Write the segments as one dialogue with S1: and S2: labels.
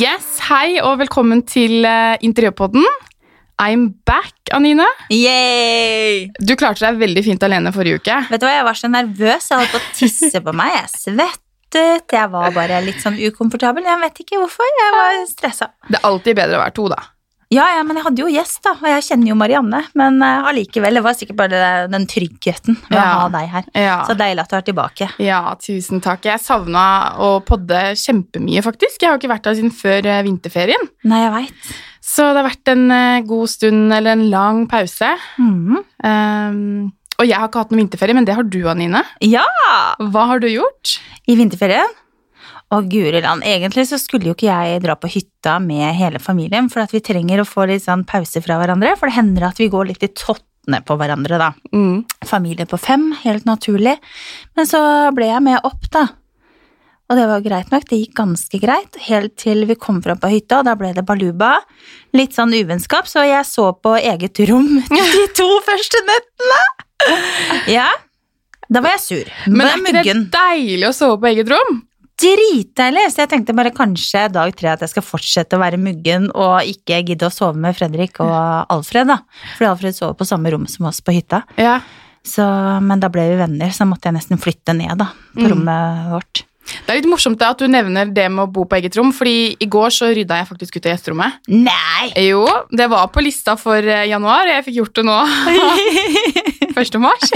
S1: Hei og velkommen til eh, Interiørpodden. I'm back, Anine.
S2: Yay!
S1: Du klarte deg veldig fint alene forrige uke.
S2: Vet du hva, jeg var så nervøs. Jeg holdt på å tisse på meg. Jeg svettet. Jeg var bare litt sånn ukomfortabel. Jeg vet ikke hvorfor. Jeg var stressa.
S1: Det er alltid bedre å være to, da.
S2: Ja, ja, men jeg hadde jo gjest, da. Og jeg kjenner jo Marianne. Men eh, allikevel. det var sikkert bare det- den tryggheten ved
S1: Ja.
S2: å ha deg her.
S1: Ja,
S2: Så deilig at du er tilbake.
S1: ja tusen takk. Jeg savna å podde kjempemye, faktisk. Jeg har jo ikke vært her siden før eh, vinterferien.
S2: Nei, jeg veit.
S1: Så det har vært en eh, god stund, eller en lang pause.
S2: Mhm.
S1: Ehm, og jeg har ikke hatt noen vinterferie, men det har du, Anine.
S2: Ja!
S1: Hva har du gjort?
S2: I vinterferien. Og guri land, egentlig så skulle jo ikke jeg dra på hytta med hele familien, for at vi trenger å få litt sånn pause fra hverandre, for det hender at vi går litt i tottene på hverandre, da.
S1: Mm.
S2: familie på fem, helt naturlig. Men så ble jeg med opp, da. Og det var greit nok, det gikk ganske greit, helt til vi kom fram på hytta, og da ble det baluba. Litt sånn uvennskap, så jeg så på eget rom de to første nettene! Ja, da var jeg sur.
S1: Men
S2: Men
S1: er ikke det
S2: muggen.
S1: deilig å sove på eget rom?
S2: Dritdeilig! Så jeg tenkte bare kanskje dag tre at jeg skal fortsette å være muggen og ikke gidde å sove med Fredrik og Alfred, da. Fordi Alfred sover på samme rom som oss på hytta.
S1: Ja.
S2: Så, men da ble vi venner, så måtte jeg nesten flytte ned da,
S1: Mm.
S2: på rommet vårt.
S1: Det er litt morsomt da, at du nevner det med å bo på eget rom, fordi i går så rydda jeg faktisk ut av gjesterommet.
S2: Nei!
S1: Jo, det var på lista for eh, januar, og jeg fikk gjort det nå 1. mars.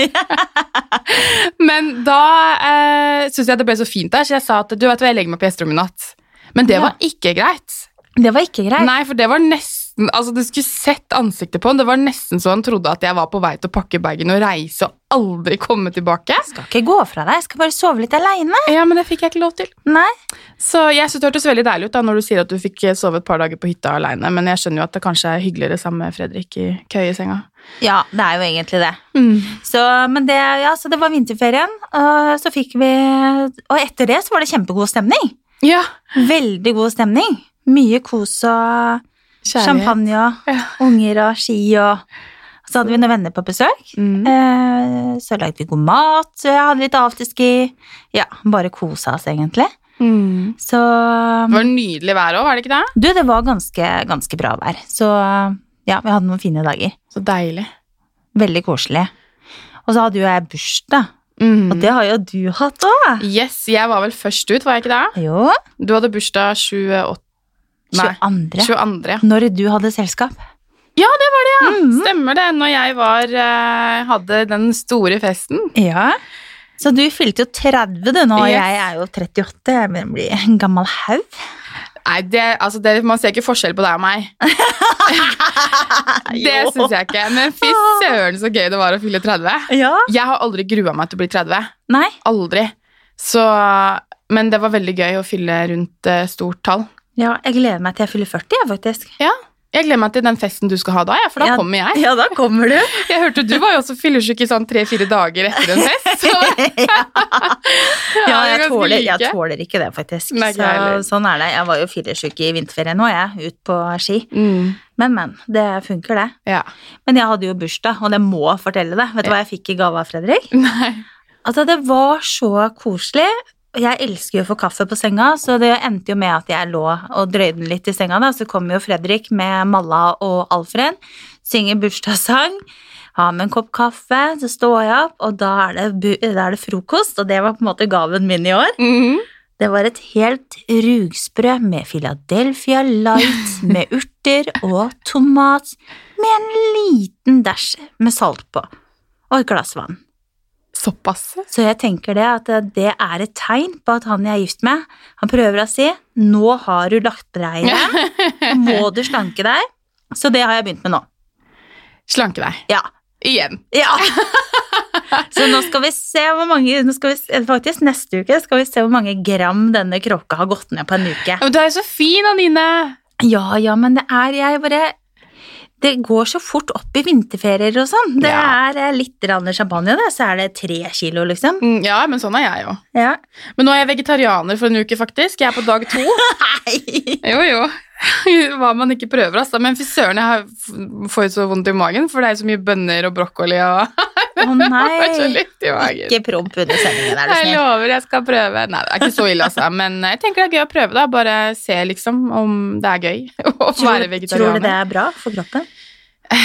S1: Men da eh, syntes jeg det ble så fint der, så jeg sa at du vet hva, jeg legger meg på gjesterommet i natt. Men det
S2: Ja.
S1: var ikke greit.
S2: Det var ikke greit.
S1: Nei, for det var nesten Altså, du skulle sett ansiktet på han. Det var nesten så han trodde at jeg var på vei til å pakke bagen og reise og aldri komme tilbake.
S2: Jeg skal ikke gå fra deg, jeg skal bare sove litt alene.
S1: Ja, men det fikk jeg ikke lov til.
S2: Nei.
S1: Så jeg synes det hørtes veldig deilig ut da, når du sier at du fikk eh, sove et par dager på hytta alene, men jeg skjønner jo at det kanskje er hyggeligere sammen med Fredrik i køyesenga.
S2: Ja, det er jo egentlig det.
S1: Mm.
S2: Så, men det, ja, så det var vinterferien, og så fikk vi Og etter det så var det kjempegod stemning.
S1: Ja,
S2: Veldig god stemning. Mye kos og
S1: kjærlighet.
S2: champagne og
S1: Ja.
S2: unger og ski og Så hadde vi noen venner på besøk.
S1: Mm.
S2: Eh, Så lagde vi god mat, så jeg hadde litt afterski. Ja, bare kosa oss, egentlig.
S1: Mm.
S2: Så Mm.
S1: Det var nydelig vær òg, var det ikke det?
S2: Du, det var ganske, ganske bra vær. Så ja, vi hadde noen fine dager.
S1: Så deilig.
S2: Veldig koselig. Og så hadde jo jeg bursdag, og
S1: Mm.
S2: det har jo du hatt òg.
S1: Yes, jeg var vel først ut, var jeg ikke det?
S2: Jo.
S1: Du hadde bursdag 28. Nei,
S2: 22.
S1: 22.
S2: Når du hadde selskap.
S1: Ja, det var det, ja!
S2: Mhm.
S1: Stemmer det, når jeg var, eh, hadde den store festen.
S2: Ja. Så du fylte jo 30 du nå, og
S1: Yes.
S2: jeg er jo 38. Jeg begynner å bli en gammel haug.
S1: Nei, det, altså det, man ser ikke forskjell på deg og meg. Det syns jeg ikke. Men fy
S2: Ah.
S1: søren så gøy det var å fylle 30.
S2: Ja.
S1: Jeg har aldri grua meg til å bli 30.
S2: Nei.
S1: Aldri. Så Men det var veldig gøy å fylle rundt eh, stort tall.
S2: Ja, jeg gleder meg til jeg fyller 40, jeg, faktisk.
S1: Jeg gleder meg til den festen du skal ha da, jeg, for da
S2: Ja.
S1: kommer jeg.
S2: Ja, da kommer du.
S1: Jeg hørte Du var jo også fyllesyk i sånn tre-fire dager etter en fest. Så
S2: Ja,
S1: vi er
S2: jeg
S1: ganske
S2: tåler, jeg
S1: like.
S2: tåler ikke det, faktisk.
S1: Nei, ikke
S2: så,
S1: jeg heller.
S2: sånn er det. Jeg var jo fyllesyk i vinterferien nå, jeg. Ut på ski.
S1: Mm,
S2: Men, men. Det funker, det.
S1: ja.
S2: Men jeg hadde jo bursdag, og det må jeg fortelle det. Vet du hva jeg fikk i gave av Fredrik?
S1: Nei.
S2: Altså, det var så koselig. Og Jeg elsker jo å få kaffe på senga, så det endte jo med at jeg lå og drøyde den litt i senga. da, Så kom jo Fredrik med Malla og Alfred, synger bursdagssang, har med en kopp kaffe, så står jeg opp, og da er, det, bu- da er det frokost, og det var på en måte gaven min i år.
S1: Mhm.
S2: Det var et helt rugsprø med Philadelphia Light, med urter og tomat, med en liten dash med salt på, og et glass vann.
S1: Såpass.
S2: Så jeg tenker det at det er et tegn på at han jeg er gift med, han prøver å si 'nå har du lagt deg i det, må du slanke deg'. Så det har jeg begynt med nå.
S1: Slanke deg.
S2: Ja.
S1: Igjen.
S2: Ja. Så nå skal vi se hvor mange nå skal vi, se- Faktisk neste uke skal vi se hvor mange gram denne kråka har gått ned på en uke.
S1: Men du er jo så fin, Anine.
S2: Ja, ja, men det er jeg bare Det går så fort opp i vinterferier og sånn. Det
S1: Ja.
S2: er eh, litt grann champagne, det, så er det tre kilo, liksom.
S1: Mm, Ja, men sånn er jeg jo.
S2: Ja.
S1: Men nå er jeg vegetarianer for en uke, faktisk. Jeg er på dag to.
S2: Nei!
S1: Jo, jo. Hva man ikke prøver, altså. Men fy søren, jeg har- f- får jo så vondt i magen, for det er jo så mye bønner og brokkoli og
S2: Å
S1: Jeg får så
S2: nei!
S1: lyst i magen.
S2: Ikke promp under sendingen, er du
S1: Jeg
S2: snill.
S1: lover, jeg skal prøve. Nei, det er ikke så ille, altså. Men jeg tenker det er gøy å prøve, da. Bare se, liksom, om det er gøy å
S2: Tror,
S1: være
S2: tror du det
S1: vegetarianer.
S2: er bra for kroppen?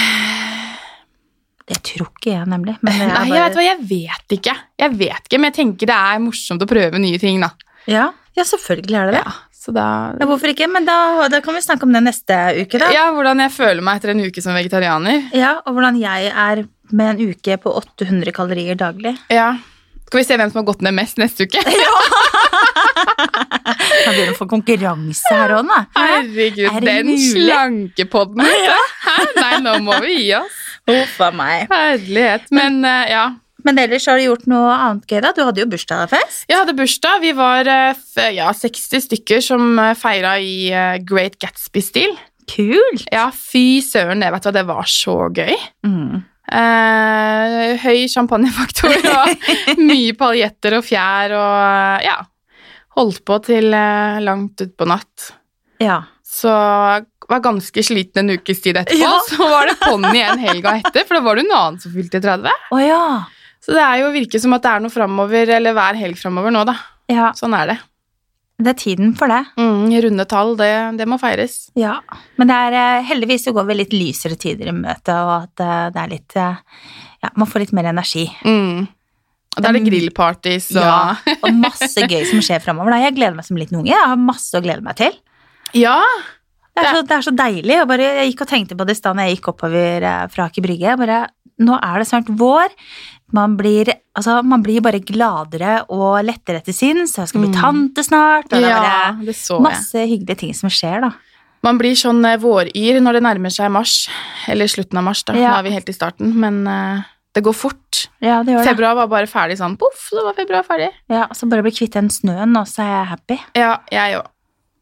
S2: Det tror ikke jeg, nemlig. Men
S1: Nei,
S2: jeg er
S1: jeg vet
S2: bare,
S1: hva, jeg vet ikke. Jeg vet ikke, men jeg tenker det er morsomt å prøve nye ting, da.
S2: ja, ja, selvfølgelig er det det.
S1: Ja, så da
S2: Ja, hvorfor ikke? Men da, da kan vi snakke om det neste uke, da. Ja.
S1: Ja, hvordan jeg føler meg etter en uke som vegetarianer.
S2: Og hvordan jeg er med en uke på 800 kalorier daglig.
S1: Ja. Skal vi se hvem som har gått ned mest neste uke?
S2: Kan begynne å få konkurranse her òg, da.
S1: Herregud,
S2: Er det
S1: den
S2: mulig?
S1: slankepodden. Hæ? Nei, nå må vi gi oss.
S2: Huff a meg.
S1: Herlighet. Men eh, ja.
S2: Men ellers har du gjort noe annet gøy, da. Du hadde jo bursdagsfest.
S1: Jeg hadde bursdag. Vi var eh, f- ja, 60 stykker som eh, feira i eh, Great Gatsby-stil.
S2: Kult!
S1: Ja, fy søren, det, vet du hva, det var så gøy.
S2: Mm.
S1: Eh, høy champagnefaktor og mye paljetter og fjær og eh, ja. Holdt på til eh, langt utpå natt.
S2: Ja.
S1: Så var ganske sliten en ukes tid etterpå.
S2: Ja.
S1: Så var det ponni en helga etter, for da var det en annen som fylte 30.
S2: Å ja.
S1: Så det er jo virker som at det er noe framover, eller hver helg framover nå, da.
S2: ja.
S1: Sånn er det.
S2: Det er tiden for det.
S1: Mm, runde tall, det, det må feires.
S2: Ja. Men det er, eh, heldigvis så går vi litt lysere tider i møte, og at eh, det er litt eh, Ja, man får litt mer energi.
S1: Mm. Og da er det grillparties og
S2: Mm. Ja, og masse gøy som skjer framover. Jeg gleder meg som liten unge. Jeg har masse å glede meg til.
S1: Ja,
S2: Det er så, det er så deilig. Jeg, bare, jeg gikk og tenkte på det i stad når jeg gikk oppover eh, fra Aker Brygge. Jeg Bare, nå er det snart vår. Man blir, altså, man blir bare gladere og lettere til sinns. Jeg skal bli
S1: Mm.
S2: tante snart. Og det er
S1: ja,
S2: bare
S1: det så jeg.
S2: masse hyggelige ting som skjer, da.
S1: Man blir sånn eh, våryr når det nærmer seg mars. Eller slutten av mars, da.
S2: Ja.
S1: Nå er vi helt i starten, men eh, det går fort.
S2: Ja, det gjør det.
S1: Februar var bare ferdig sånn. Poff, så var februar ferdig.
S2: Ja, så bare bli kvitt den snøen, og så er jeg happy.
S1: Ja, jeg òg.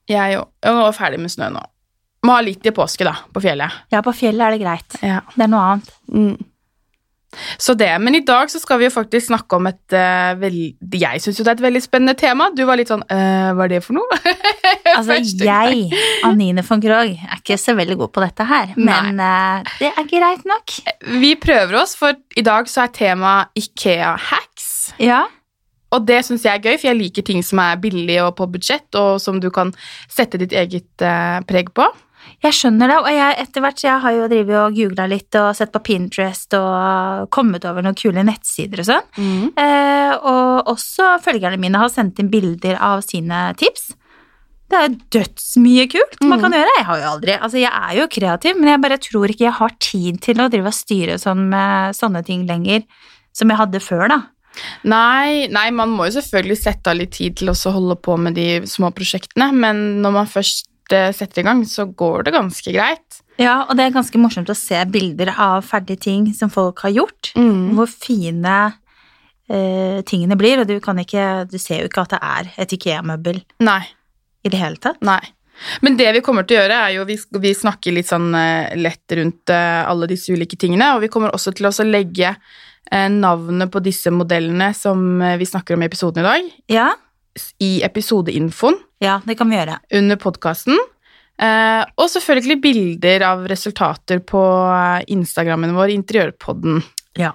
S1: Jeg òg. Jeg var ferdig med snø nå. Må ha litt i påske, da, på fjellet.
S2: Ja, på fjellet er det greit.
S1: Ja.
S2: Det er noe annet.
S1: Mm. Så det, Men i dag så skal vi jo faktisk snakke om et eh, veld- Jeg syns jo det er et veldig spennende tema. Du var litt sånn øh, Hva er det for noe?
S2: Altså,
S1: Første gang.
S2: jeg, Anine von Krogh, er ikke så veldig god på dette her,
S1: Nei. Eh,
S2: men eh, det er greit nok.
S1: Vi prøver oss, for i dag så er temaet Ikea-hacks.
S2: Ja.
S1: Og det syns jeg er gøy, for jeg liker ting som er billig og på budsjett, og som du kan sette ditt eget eh, preg på.
S2: Jeg skjønner det, og jeg, etter hvert så jeg har jo drivet og googla litt og sett på Pinterest og kommet over noen kule nettsider og sånn.
S1: Mm.
S2: Eh, og også følgerne mine har sendt inn bilder av sine tips. Det er jo dødsmye kult man
S1: Mhm.
S2: kan gjøre. Jeg har jo aldri, altså jeg er jo kreativ, men jeg bare tror ikke jeg har tid til å drive og styre sånn med sånne ting lenger som jeg hadde før, da.
S1: Nei, nei, man må jo selvfølgelig sette av litt tid til også å holde på med de små prosjektene, men når man først eh, setter i gang, så går det ganske greit.
S2: Ja, og det er ganske morsomt å se bilder av ferdige ting som folk har gjort.
S1: Mm.
S2: Hvor fine eh, tingene blir, og du, kan ikke, du ser jo ikke at det er et Ikea-møbel
S1: Nei,
S2: i det hele tatt.
S1: nei. Men det vi kommer til å gjøre, er jo vi, sk- vi snakker litt sånn eh, lett rundt eh, alle disse ulike tingene, og vi kommer også til å også legge eh, navnet på disse modellene som eh, vi snakker om i episoden i dag,
S2: Ja,
S1: s- i episodeinfoen.
S2: ja det kan vi gjøre.
S1: under podkasten. Eh, og selvfølgelig bilder av resultater på eh, Instagrammen vår, Interiørpodden.
S2: Ja.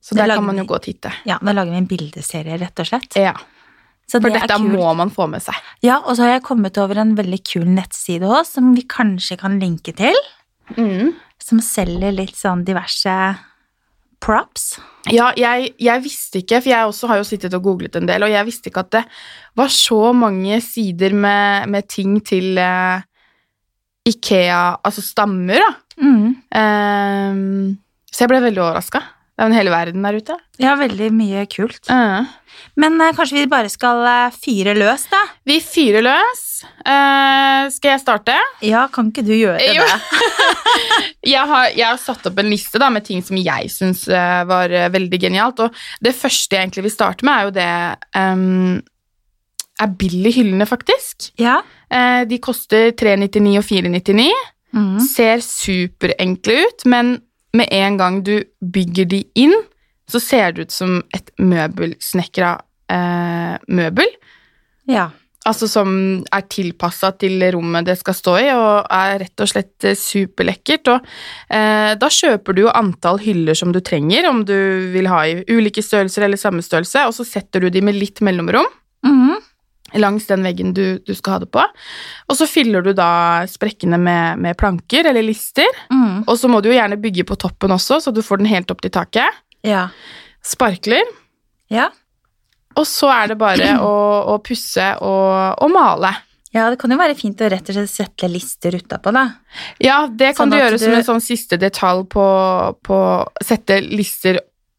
S1: Så
S2: Det
S1: der
S2: lager
S1: kan man jo
S2: vi.
S1: gå og titte.
S2: Ja, Da lager vi en bildeserie, rett og slett.
S1: Ja,
S2: Så
S1: For
S2: det er
S1: dette
S2: kult.
S1: må man få med seg.
S2: Ja, Og så har jeg kommet over en veldig kul nettside òg, som vi kanskje kan linke til. Som selger litt sånn diverse props.
S1: Ja, jeg, jeg visste ikke, for jeg også har jo sittet og googlet en del, og jeg visste ikke at det var så mange sider med, med ting til eh, Ikea, altså stammer, da.
S2: Mm.
S1: Ehm, så jeg ble veldig overraska. Det er jo en hel verden der ute.
S2: Ja, veldig mye kult.
S1: Uh.
S2: Men eh, kanskje vi bare skal eh, fyre løs, da?
S1: Vi fyrer løs. Eh, skal jeg starte?
S2: Ja, kan ikke du gjøre
S1: Jo.
S2: det?
S1: Jeg har, jeg har satt opp en liste da, med ting som jeg syns eh, var eh, veldig genialt. Og det første jeg egentlig vil starte med, er jo det ehm, er billig hyllene, faktisk.
S2: Ja.
S1: Eh, de koster 399 og 499.
S2: Mm.
S1: Ser superenkle ut, men med en gang du bygger de inn, så ser det ut som et møbelsnekra eh, møbel.
S2: ja.
S1: altså som er tilpassa til rommet det skal stå i, og er rett og slett eh, superlekkert. Og eh, da kjøper du jo antall hyller som du trenger, om du vil ha i ulike størrelser eller samme størrelse, og så setter du de med litt mellomrom
S2: Mhm.
S1: langs den veggen du, du skal ha det på. Og så fyller du da sprekkene med, med planker eller lister,
S2: Mhm.
S1: og så må du jo gjerne bygge på toppen også, så du får den helt opp til taket.
S2: Ja.
S1: Sparkler.
S2: Ja.
S1: Og så er det bare å, å pusse og, og male.
S2: ja, det kan jo være fint å rett og slett sette lister utapå, da.
S1: Ja, det kan
S2: Sånn
S1: du
S2: at
S1: gjøre
S2: du-
S1: som en sånn siste detalj på, på sette lister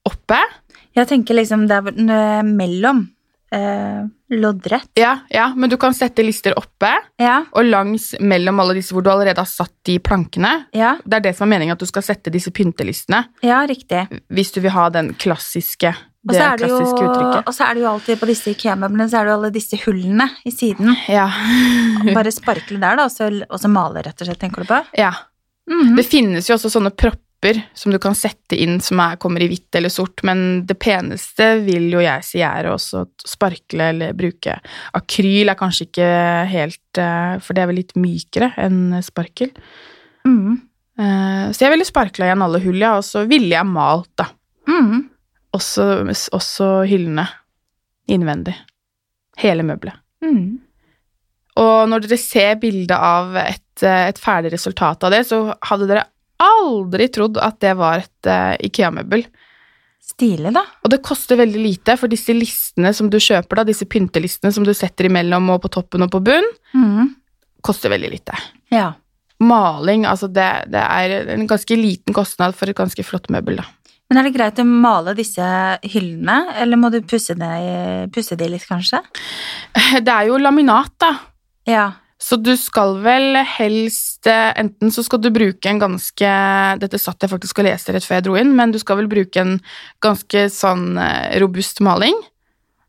S1: oppe.
S2: Jeg tenker liksom der hvor den er mellom eh, loddrett.
S1: Ja, ja, men du kan sette lister oppe
S2: Ja,
S1: og langs mellom alle disse hvor du allerede har satt de plankene.
S2: ja,
S1: Det er det som er meningen at du skal sette disse pyntelistene,
S2: ja, riktig.
S1: hvis du vil ha den klassiske,
S2: Og
S1: det
S2: så er det jo,
S1: klassiske uttrykket.
S2: og så er det jo alltid på disse IKEA-møblene så er det jo alle disse hullene i siden.
S1: Ja,
S2: Bare sparkle der, da, og så, og så male, rett og slett, tenker du på?
S1: ja.
S2: Mhm.
S1: Det finnes jo også sånne propper som du kan sette inn som er, kommer i hvitt eller sort, men det peneste vil jo jeg si er å også sparkle eller bruke. Akryl er kanskje ikke helt eh, For det er vel litt mykere enn sparkel.
S2: Mhm.
S1: Eh, Så jeg ville sparkla igjen alle hull, ja, og så ville jeg malt, da.
S2: Mhm.
S1: Også, også hyllene innvendig. Hele møbelet.
S2: Mhm.
S1: Og når dere ser bildet av et, eh, et ferdig resultat av det, så hadde dere aldri trodd at det var et eh, IKEA-møbel.
S2: Stilig, da.
S1: Og det koster veldig lite, for disse listene som du kjøper, da, disse pyntelistene som du setter imellom og på toppen og på bunn,
S2: Mhm.
S1: koster veldig lite.
S2: Ja.
S1: Maling, altså det, det er en ganske liten kostnad for et ganske flott møbel, da.
S2: Men er det greit å male disse hyllene, eller må du pusse, det, pusse de litt, kanskje?
S1: Det er jo laminat, da.
S2: Ja.
S1: Så du skal vel helst eh, Enten så skal du bruke en ganske Dette satt jeg faktisk og leste rett før jeg dro inn, men du skal vel bruke en ganske sånn eh, robust maling.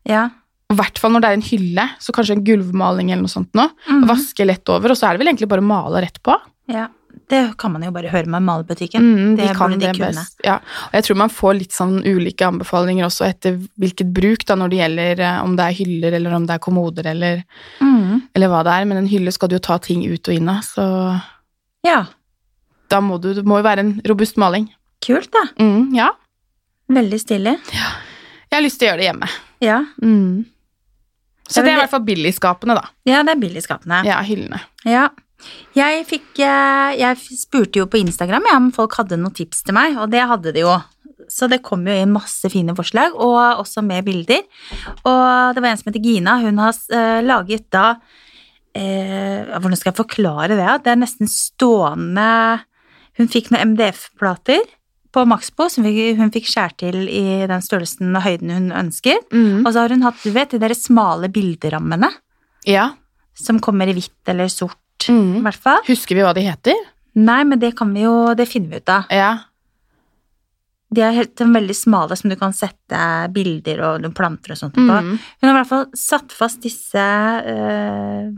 S2: Ja.
S1: I hvert fall når det er en hylle, så kanskje en gulvmaling eller noe sånt nå.
S2: Mhm.
S1: Vaske lett over, og så er det vel egentlig bare å male rett på.
S2: ja. Det kan man jo bare høre med malebutikken.
S1: Mm, de
S2: det
S1: kan
S2: burde de
S1: det
S2: kunne.
S1: best. Ja. Og jeg tror man får litt sånn ulike anbefalinger også etter hvilket bruk, da, når det gjelder eh, om det er hyller eller om det er kommoder eller,
S2: Mhm.
S1: eller hva det er. Men en hylle skal du jo ta ting ut og inn av, så
S2: Ja.
S1: da må du, det må jo være en robust maling.
S2: Kult, da.
S1: Mm, ja.
S2: Veldig stilig.
S1: Jeg har lyst til å gjøre det hjemme.
S2: Ja.
S1: Så
S2: Jeg
S1: det er i
S2: vil-
S1: hvert fall billigskapende, da.
S2: Ja, det er billigskapende.
S1: Ja, hyllene.
S2: Ja. Jeg, fikk, eh, jeg f- spurte jo på Instagram ja, om folk hadde noen tips til meg, og det hadde de jo. Så det kom jo inn masse fine forslag, og også med bilder. Og det var en som heter Gina, hun har eh, laget da eh, ja, Hvordan skal jeg forklare det? Det er nesten stående Hun fikk noen MDF-plater på Maxbo som vi- hun fikk skjært til i den størrelsen og høyden hun ønsker. Og så har hun hatt, du vet, de der smale bilderammene
S1: Ja.
S2: som kommer i hvitt eller sort.
S1: Mm.
S2: I hvert fall.
S1: Husker vi hva de heter?
S2: Nei, men det kan vi jo, det finner vi ut av.
S1: Ja.
S2: De er helt sånn veldig smale som du kan sette bilder og noen planter og sånt på.
S1: Mm.
S2: Hun har i hvert fall satt fast disse eh,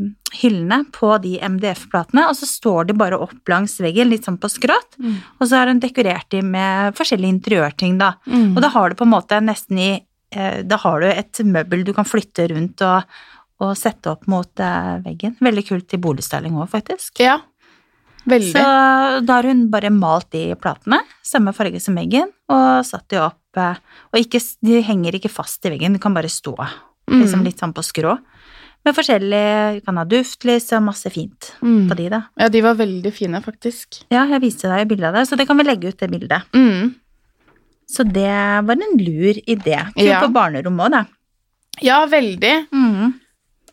S2: hyllene på de MDF-platene, og så står de bare opp langs veggen, litt sånn på skrått, og så har hun dekorert de med forskjellige interiørting da.
S1: Mm.
S2: Og da har du på en måte nesten i, eh, da har du et møbel du kan flytte rundt og, og sette opp mot eh, veggen. Veldig kult til boligstyling også, faktisk.
S1: Ja. Veldig.
S2: Så da har hun bare malt de platene, samme farge som veggen, og satt de opp. eh, Og ikke, de henger ikke fast i veggen, de kan bare stå
S1: Mm.
S2: liksom litt sånn på skrå. Med forskjellig, du kan ha duftlys og masse fint
S1: Mm.
S2: på de da.
S1: Ja, de var veldig fine, faktisk.
S2: Ja, jeg viste deg jo bildet av det, så det kan vi legge ut det bildet.
S1: Mm.
S2: Så det var en lur idé. Kult
S1: Ja. Mm.
S2: på barnerommet også da.
S1: Ja, veldig.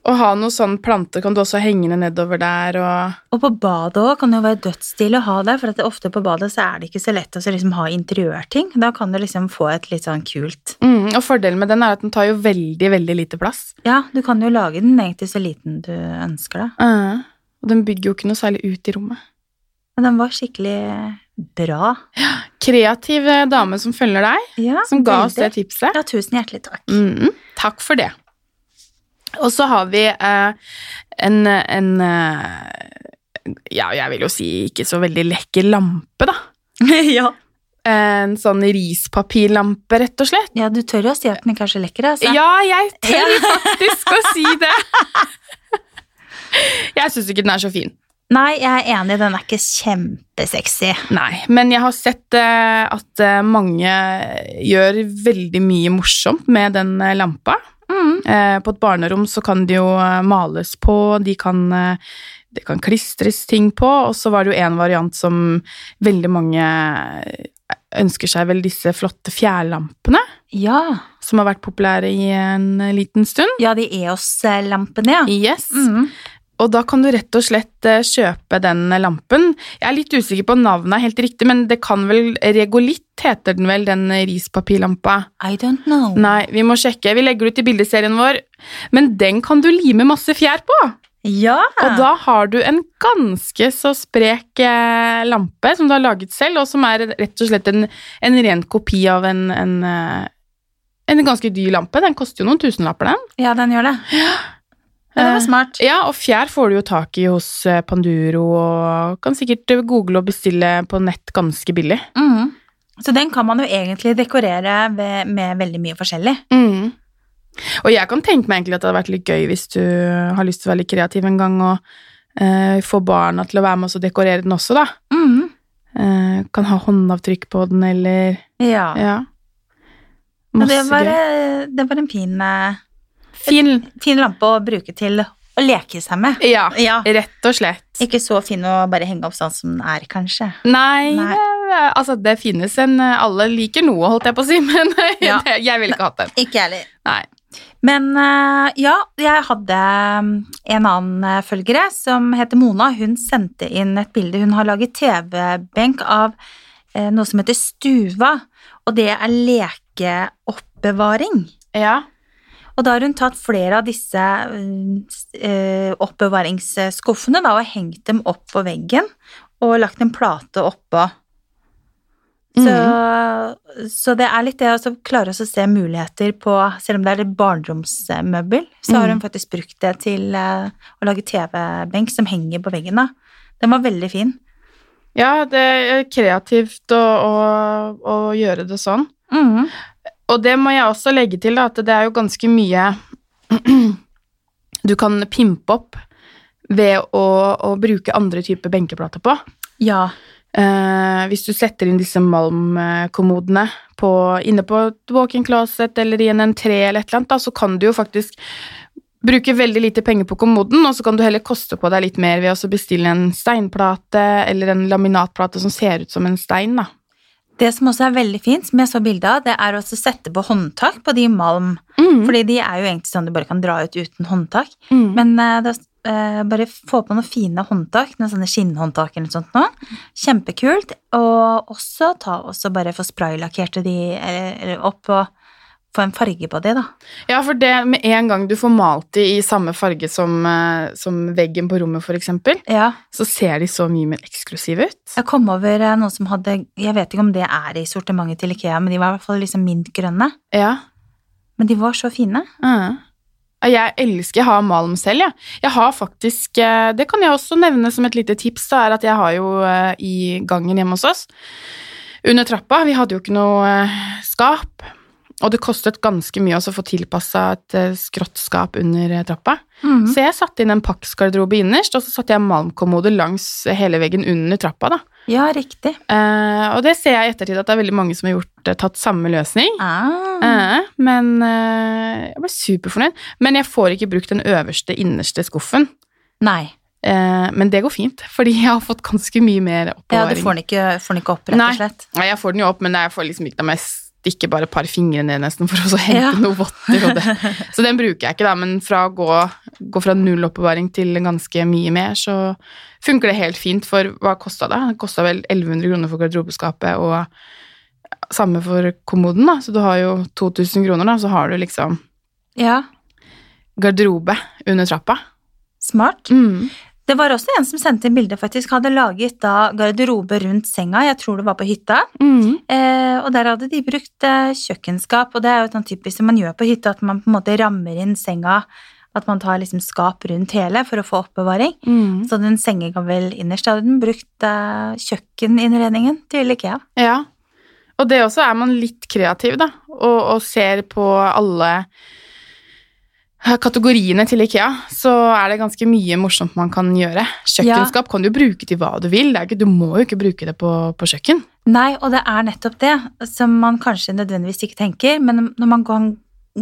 S1: Å ha noe sånn plante kan du også henge ned nedover der og
S2: Og på badet også kan det jo være dødsstilig å ha det, for at det ofte på badet så er det ikke så lett å så liksom ha interiørting. Da kan du liksom få et litt sånn kult
S1: mm. Og fordelen med den er at den tar jo veldig, veldig lite plass.
S2: Ja, du kan jo lage den egentlig så liten du ønsker deg.
S1: Og den bygger jo ikke noe særlig ut i rommet.
S2: Men den var skikkelig bra.
S1: Kreativ eh, dame som følger deg,
S2: Ja,
S1: som ga oss det
S2: veldig. Mm.
S1: tipset.
S2: Ja, tusen hjertelig takk.
S1: Mhm, takk for det. Og så har vi eh, en, en eh, Ja, jeg vil jo si ikke så veldig lekker lampe, da.
S2: ja.
S1: En sånn rispapirlampe, rett og slett.
S2: ja, du tør jo å si at den ikke er så lekker, altså.
S1: Ja, jeg tør faktisk å si det! Jeg syns ikke den er så fin.
S2: Nei, jeg er enig, den er ikke kjempesexy.
S1: Nei, men jeg har sett eh, at eh, mange gjør veldig mye morsomt med den eh, lampa. Eh, på et barnerom så kan det jo eh, males på, de kan, eh, det kan klistres ting på, og så var det jo en variant som veldig mange eh, ønsker seg vel disse flotte fjærlampene,
S2: Ja.
S1: som har vært populære i en eh, liten stund.
S2: ja, de EOS-lampene, ja.
S1: Yes.
S2: Mm.
S1: Og da kan du rett og slett eh, kjøpe den lampen. Jeg er litt usikker på om navnet er helt riktig, men det kan vel Regolitt heter den vel, den eh, rispapirlampa.
S2: I don't know.
S1: Nei, vi må sjekke. Vi legger det ut i bildeserien vår. Men den kan du lime masse fjær på.
S2: Ja.
S1: Og da har du en ganske så sprek eh, lampe som du har laget selv, og som er rett og slett en, en ren kopi av en, en, eh, en ganske dyr lampe. Den koster jo noen tusenlapper, den.
S2: ja, den gjør det. Ja, det
S1: Eh,
S2: var smart.
S1: Ja, og fjær får du jo tak i hos eh, Panduro, og kan sikkert eh, google og bestille på nett ganske billig.
S2: Mhm. Så den kan man jo egentlig dekorere ved, med veldig mye forskjellig. Mm.
S1: Og jeg kan tenke meg egentlig at det hadde vært litt gøy hvis du har lyst til å være litt kreativ en gang, og eh, få barna til å være med oss og dekorere den også, da.
S2: Mhm.
S1: Eh, kan ha håndavtrykk på den, eller
S2: Ja.
S1: Ja.
S2: Ja,
S1: Masse
S2: det, var,
S1: gøy.
S2: eh, det var en fin, eh,
S1: Fin.
S2: fin lampe å bruke til å leke seg med.
S1: Ja,
S2: Ja.
S1: rett og slett.
S2: Ikke så fin å bare henge opp sånn som den er, kanskje.
S1: Nei,
S2: Nei.
S1: det- altså det finnes en Alle liker noe, holdt jeg på å si, men
S2: Ja.
S1: det- jeg ville ikke hatt den.
S2: Ikke jeg heller.
S1: Nei.
S2: Men eh, ja, jeg hadde mm, en annen eh, følgere som heter Mona. Hun sendte inn et bilde. Hun har laget TV-benk av eh, noe som heter Stuva, og det er lekeoppbevaring.
S1: Ja.
S2: Og da har hun tatt flere av disse mm, s- eh, oppbevaringsskuffene da, og hengt dem opp på veggen og lagt en plate oppå. Så, så det er litt det å så klare oss å se muligheter på Selv om det er et barndomsmøbel, så har hun faktisk brukt det til eh, å lage TV-benk som henger på veggen. da. Den var veldig fin.
S1: ja, det er kreativt å, å, å gjøre det sånn. Og det må jeg også legge til, da, at det er jo ganske mye du kan pimpe opp ved å, å bruke andre typer benkeplater på.
S2: Ja.
S1: Eh, hvis du setter inn disse malmkommodene på, inne på et walk-in closet eller i en entré eller et eller annet, da, så kan du jo faktisk bruke veldig lite penger på kommoden, og så kan du heller koste på deg litt mer ved å så bestille en steinplate eller en laminatplate som ser ut som en stein, da.
S2: Det som også er veldig fint, som jeg så bilde av, det er å også sette på håndtak på de malm. Fordi de er jo egentlig sånn du bare kan dra ut uten håndtak.
S1: Mm.
S2: Men eh, da, eh, bare få på noen fine håndtak, noen sånne skinnhåndtak eller noe sånt nå. Kjempekult. Og også ta også bare få spraylakkerte de eller, eller opp og få en farge på de, da.
S1: Ja, for det med en gang du får malt de i samme farge som, eh, som veggen på rommet, for eksempel,
S2: Ja.
S1: så ser de så mye mer eksklusive ut.
S2: Jeg kom over eh, noen som hadde Jeg vet ikke om det er i sortimentet til Ikea, men de var i hvert fall liksom mintgrønne.
S1: Ja.
S2: Men de var så fine.
S1: Mm. Jeg elsker, jeg har malm selv, jeg. Jeg har faktisk, eh, det kan jeg også nevne som et lite tips, da, er at jeg har jo eh, i gangen hjemme hos oss, under trappa, vi hadde jo ikke noe eh, skap, og det kostet ganske mye også å få tilpasset et eh, skrottskap under eh, trappa.
S2: Mm.
S1: Så jeg satte inn en pakksgarderobe innerst, og så satte jeg malmkommode langs hele veggen under trappa. da.
S2: Ja, riktig.
S1: Eh, og det ser jeg i ettertid at det er veldig mange som har gjort, eh, tatt samme løsning.
S2: Ah.
S1: Eh, men eh, jeg ble superfornøyd. Men jeg får ikke brukt den øverste, innerste skuffen.
S2: Nei.
S1: Eh, men det går fint, fordi jeg har fått ganske mye mer
S2: Ja, du
S1: oppbevaring.
S2: får den ikke, får den ikke opp, rett
S1: Nei.
S2: og slett.
S1: Nei, jeg får den jo opp, men jeg får liksom ikke den med stikke bare et par fingre ned nesten for å så hente
S2: Ja.
S1: noe votter og det. Så den bruker jeg ikke da, men fra å gå, gå fra null oppbevaring til ganske mye mer, så funker det helt fint, for hva kostet det? Det kostet vel 1100 kroner for garderobeskapet, og samme for kommoden da, så du har jo 2000 kroner da, så har du liksom
S2: Ja,
S1: garderobe under trappa.
S2: smart.
S1: Mm.
S2: Det var også en som sendte inn bilde, faktisk. Hadde laget da garderobe rundt senga, jeg tror det var på hytta.
S1: Mm.
S2: Eh, og der hadde de brukt eh, kjøkkenskap, og det er jo sånn typisk som man gjør på hytta, at man på en måte rammer inn senga, at man tar liksom skap rundt hele for å få oppbevaring.
S1: Mm.
S2: Så den sengegavel innerst hadde den brukt eh, kjøkkeninnredningen til Ikea.
S1: Ja. Og det også er man litt kreativ, da, og, og ser på alle eh, kategoriene til Ikea, så er det ganske mye morsomt man kan gjøre. Kjøkkenskap kan du bruke til hva du vil. Det er ikke, du må jo ikke bruke det på, på kjøkken.
S2: Nei, og det er nettopp det som man kanskje nødvendigvis ikke tenker, men når man kan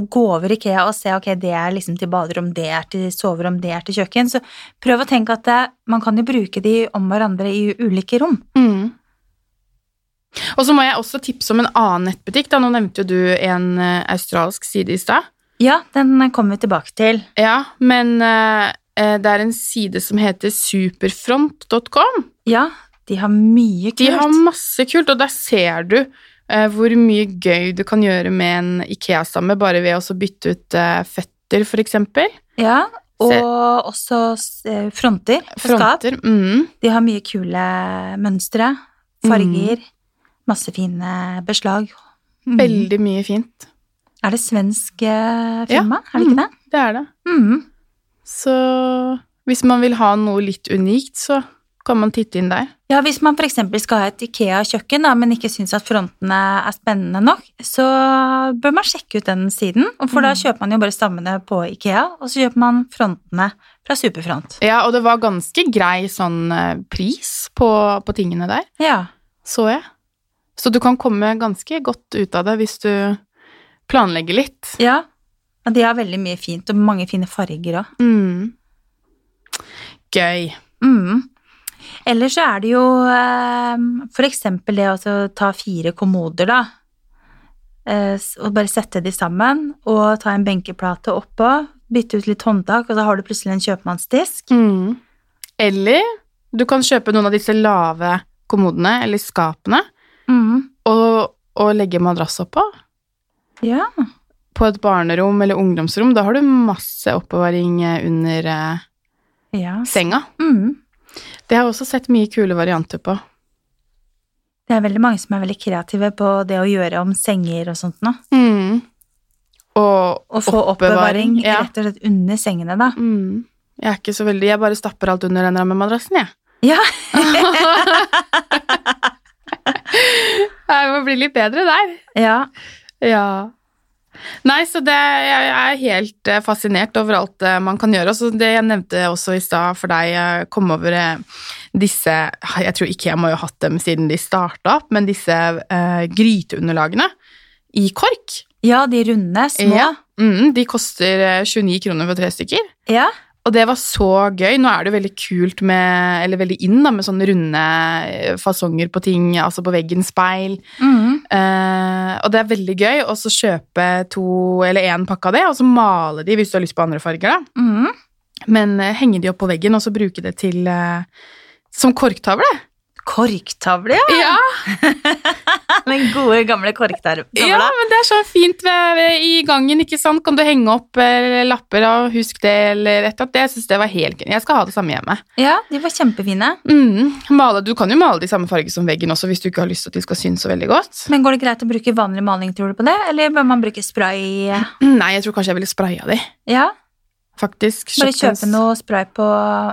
S2: gå over IKEA og se ok, det er liksom til baderom, det er til soverom, det er til kjøkken, så prøv å tenke at det, man kan jo bruke de om hverandre i ulike rom.
S1: Mm. Og så må jeg også tipse om en annen nettbutikk. Da. Nå nevnte jo du en eh, australsk side i stad.
S2: Ja, den kommer vi tilbake til.
S1: Ja, men eh, eh, det er en side som heter superfront.com.
S2: Ja, de har mye kult.
S1: De har masse kult, og der ser du eh, hvor mye gøy du kan gjøre med en Ikea-stamme bare ved også å bytte ut eh, føtter, for eksempel.
S2: Ja, og
S1: Se.
S2: også eh, fronter og skap.
S1: Fronter. Mm.
S2: De har mye kule mønstre, farger,
S1: Mm.
S2: masse fine beslag. Mm.
S1: Veldig mye fint.
S2: Er det svensk eh, firma, er det
S1: Mm.
S2: ikke det?
S1: Det er det.
S2: Mm.
S1: Så hvis man vil ha noe litt unikt, så kan man titte inn der.
S2: Ja, hvis man f.eks. skal ha et Ikea-kjøkken, da, men ikke syns at frontene er spennende nok, så bør man sjekke ut den siden. og For da
S1: Mm.
S2: kjøper man jo bare stammene på Ikea, og så kjøper man frontene fra Superfront.
S1: Ja, og det var ganske grei sånn eh, pris på, på tingene der,
S2: Ja.
S1: så jeg. Så du kan komme ganske godt ut av det hvis du planlegger litt.
S2: ja. Og de har veldig mye fint, og mange fine farger òg.
S1: Mm. Gøy.
S2: Mm. Eller så er det jo eh, for eksempel det å så ta fire kommoder, da. Eh, s- Og bare sette de sammen, og ta en benkeplate oppå. Bytte ut litt håndtak, og da har du plutselig en kjøpmannsdisk.
S1: Mm. Eller du kan kjøpe noen av disse lave kommodene eller skapene
S2: Mm.
S1: og, og legge madrass oppå.
S2: Ja.
S1: På et barnerom eller ungdomsrom, da har du masse oppbevaring eh, under eh,
S2: ja.
S1: senga.
S2: Mm.
S1: Det har jeg også sett mye kule varianter på.
S2: Det er veldig mange som er veldig kreative på det å gjøre om senger og sånt nå.
S1: Og,
S2: Og Mm. få oppbevaring,
S1: Ja.
S2: rett og slett under sengene, da.
S1: Mm. Jeg er ikke så veldig Jeg bare stapper alt under den rammemadrassen, jeg.
S2: Ja.
S1: Jeg må bli litt bedre der.
S2: Ja.
S1: Ja. Nei, så det, jeg er helt eh, fascinert over alt eh, man kan gjøre. Og så det jeg nevnte også i stad for deg, eh, kom over eh, disse Jeg tror ikke jeg må jo ha hatt dem siden de starta opp, men disse eh, gryteunderlagene i kork.
S2: ja, de runde, små. Ja.
S1: Ja. Mm, de koster eh, 29 kroner for tre stykker. Og det var så gøy. Nå er det jo veldig kult med, eller veldig inn da, med sånne runde eh, fasonger på ting, altså på veggen, speil.
S2: Mm.
S1: Eh, og det er veldig gøy å så kjøpe to eller én pakke av det, og så male de hvis du har lyst på andre farger. da.
S2: Mm.
S1: Men eh, henge de opp på veggen, og så bruke det til eh, som korktavle.
S2: Korktavle, ja.
S1: Ja,
S2: Den gode, gamle korktavla.
S1: ja, men det er sånn fint ved, ved, i gangen, ikke sant. Kan du henge opp eh, lapper og husk det, eller et eller annet. Jeg syns det var helt gøy. Jeg skal ha det samme hjemme.
S2: ja, de var kjempefine.
S1: Mm, male, du kan jo male de samme farger som veggen også, hvis du ikke har lyst til at de skal synes så veldig godt.
S2: Men går det greit å bruke vanlig maling, tror du på det? Eller bør man bruke spray?
S1: Nei, jeg tror kanskje jeg ville spraya de,
S2: Ja,
S1: faktisk.
S2: bare
S1: Kjøpt en
S2: kjøpe noe spray på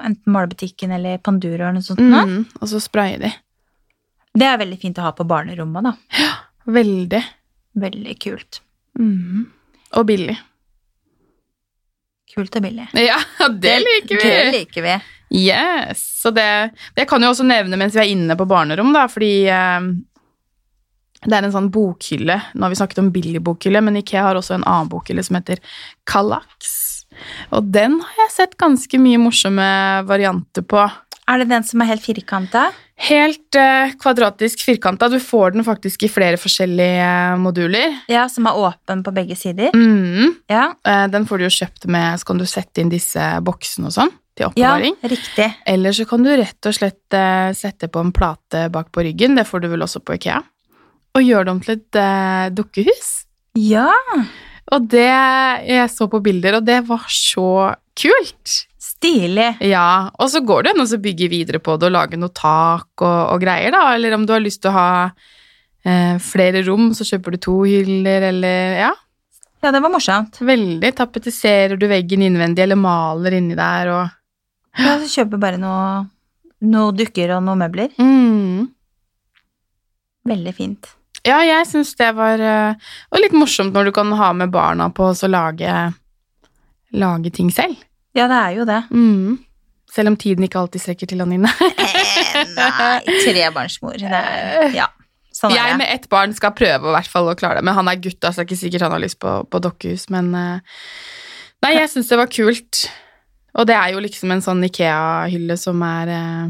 S2: enten malebutikken eller Panduro eller noe sånt. nå.
S1: Mm, og så spraye de.
S2: Det er veldig fint å ha på barnerommet, da.
S1: Veldig.
S2: Veldig kult.
S1: Mm-hmm. Og billig.
S2: Kult og billig.
S1: Ja, det liker vi!
S2: Det liker vi.
S1: Yes. Så det, det kan jo også nevne mens vi er inne på barnerom, da, fordi eh, det er en sånn bokhylle. Nå har vi snakket om billig bokhylle, men Ikea har også en annen bokhylle som heter Kallax. Og den har jeg sett ganske mye morsomme varianter på.
S2: Er det den som er helt firkanta?
S1: Helt eh, kvadratisk firkanta. Du får den faktisk i flere forskjellige eh, moduler.
S2: Ja, som er åpen på begge sider?
S1: Mm.
S2: Ja.
S1: Eh, Den får du jo kjøpt med, så kan du sette inn disse boksene og sånn til
S2: ja
S1: oppbevaring.
S2: riktig.
S1: Eller så kan du rett og slett eh, sette på en plate bak på ryggen, det får du vel også på Ikea, og gjøre det om til et eh, dukkehus.
S2: Ja,
S1: Og det jeg så på bilder, og det var så kult.
S2: stilig.
S1: Ja, og så går det an å bygge videre på det og lage noe tak og, og greier, da. Eller om du har lyst til å ha eh, flere rom, så kjøper du to hyller, eller ja.
S2: Ja, det var morsomt.
S1: Veldig. Tapetiserer du veggen innvendig, eller maler inni der, og
S2: Ja, så kjøper bare noe, noe dukker og noe møbler.
S1: mm.
S2: Veldig fint.
S1: Ja, jeg syns det var eh, og litt morsomt når du kan ha med barna på å så lage lage ting selv.
S2: Ja, det er jo det.
S1: Mm. Selv om tiden ikke alltid strekker til, Anine.
S2: Eh, Nei, trebarnsmor. Det er, ja, sånn
S1: jeg
S2: er det.
S1: med ett barn skal prøve i hvert fall å klare det, men han er gutt, altså det er ikke sikkert han har lyst på, på dokkehus, men eh, Nei, jeg syns det var kult. Og det er jo liksom en sånn Ikea-hylle som er eh,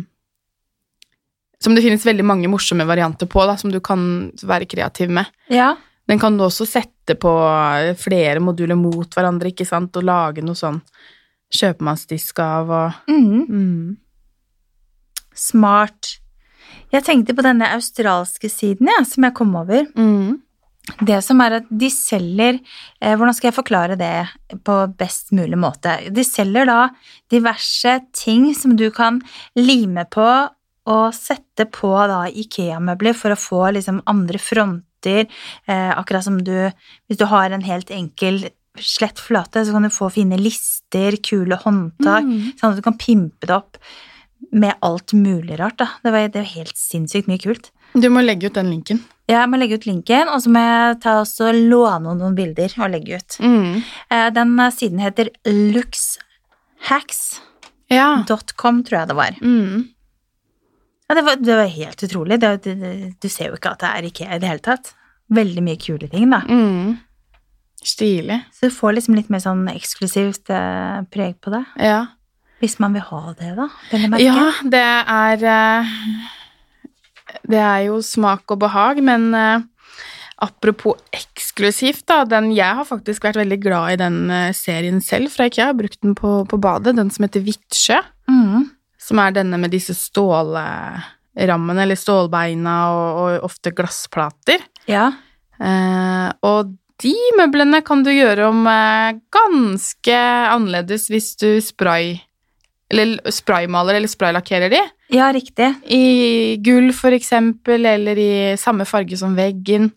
S1: Som det finnes veldig mange morsomme varianter på, da, som du kan være kreativ med.
S2: Ja,
S1: Den kan du også sette på eh, flere moduler mot hverandre, ikke sant, og lage noe sånn kjøpmannsdisk av og
S2: mhm.
S1: mm.
S2: smart. Jeg tenkte på denne australske siden ja, som jeg kom over.
S1: Mm.
S2: Det som er at de selger eh, Hvordan skal jeg forklare det på best mulig måte? De selger da diverse ting som du kan lime på og sette på da Ikea-møbler for å få liksom andre fronter. Eh, akkurat som du Hvis du har en helt enkel slett flate, så kan du få fine lister, kule håndtak,
S1: Mm.
S2: sånn at du kan pimpe det opp med alt mulig rart. Da. Det, var, det er jo helt sinnssykt mye kult.
S1: Du må legge ut den linken.
S2: Jeg må legge ut linken, og så må jeg ta også låne noen bilder og legge ut.
S1: Mm.
S2: Eh, Den eh, siden heter luxhacks.com,
S1: Ja.
S2: tror jeg det var.
S1: Mm.
S2: Ja, det, var det var helt utrolig. Det, det, det- du ser jo ikke at det er IKEA i det hele tatt. Veldig mye kule ting, da.
S1: Mm. Stilig.
S2: Så du får liksom litt mer sånn eksklusivt eh, preg på det.
S1: Ja.
S2: Hvis man vil ha det, da. Vel å merke.
S1: ja, det er eh, Det er jo smak og behag, men eh, apropos eksklusivt, da. Den, jeg har faktisk vært veldig glad i den eh, serien selv fra IKEA. Jeg har brukt den på, på badet. Den som heter Hvittsjø.
S2: Mm.
S1: Som er denne med disse stålrammene, eller stålbeina, og, og ofte glassplater.
S2: ja.
S1: Eh, og de møblene kan du gjøre om eh, ganske annerledes hvis du spray eller l- spraymaler eller spraylakkerer de.
S2: Ja, riktig.
S1: I gull, for eksempel, eller i samme farge som veggen.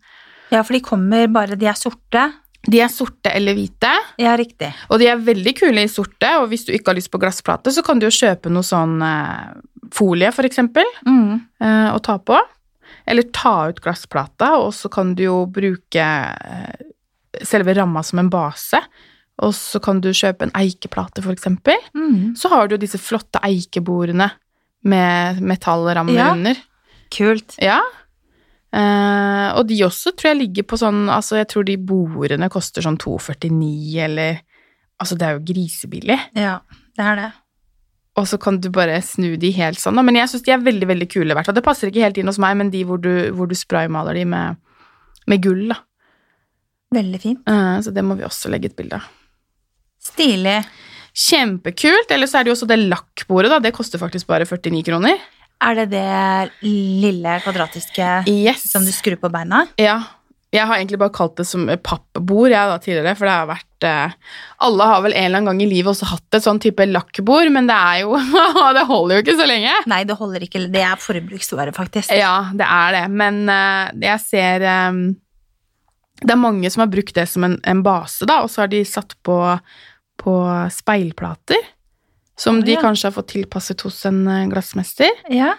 S2: Ja, for de kommer bare De er sorte.
S1: De er sorte eller hvite,
S2: Ja, riktig.
S1: og de er veldig kule i sorte. Og hvis du ikke har lyst på glassplate, så kan du jo kjøpe noe sånn eh, folie, for eksempel,
S2: Mm.
S1: eh, og ta på. Eller ta ut glassplata, og så kan du jo bruke eh, selve ramma som en base. Og så kan du kjøpe en eikeplate, for eksempel.
S2: Mm.
S1: Så har du jo disse flotte eikebordene med metallrammer
S2: Ja.
S1: under.
S2: Kult.
S1: Ja. Eh, og de også tror jeg ligger på sånn Altså, jeg tror de bordene koster sånn 2,49 eller Altså, det er jo grisebillig.
S2: Ja, det er det.
S1: Og så kan du bare snu de helt sånn. da. Men jeg syns de er veldig veldig kule. i hvert fall. Det passer ikke helt inn hos meg, men de hvor du, hvor du spraymaler de med, med gull. da.
S2: Veldig fint.
S1: Eh, Så det må vi også legge et bilde av.
S2: Stilig.
S1: Kjempekult! Eller så er det jo også det lakkbordet. da. Det koster faktisk bare 49 kroner.
S2: Er det det lille kvadratiske
S1: Yes!
S2: som du skrur på beina?
S1: Ja. Jeg har egentlig bare kalt det som pappbord jeg da tidligere, for det har vært eh, Alle har vel en eller annen gang i livet også hatt et sånn type lakkbord, men det er jo Det holder jo ikke så lenge.
S2: Nei, det holder ikke. Det er forbruksåret, faktisk.
S1: Ja, det er det. Men eh, jeg ser eh, Det er mange som har brukt det som en, en base, da, og så har de satt på, på speilplater. Som
S2: Å,
S1: de
S2: ja.
S1: kanskje har fått tilpasset hos en eh, glassmester.
S2: Ja.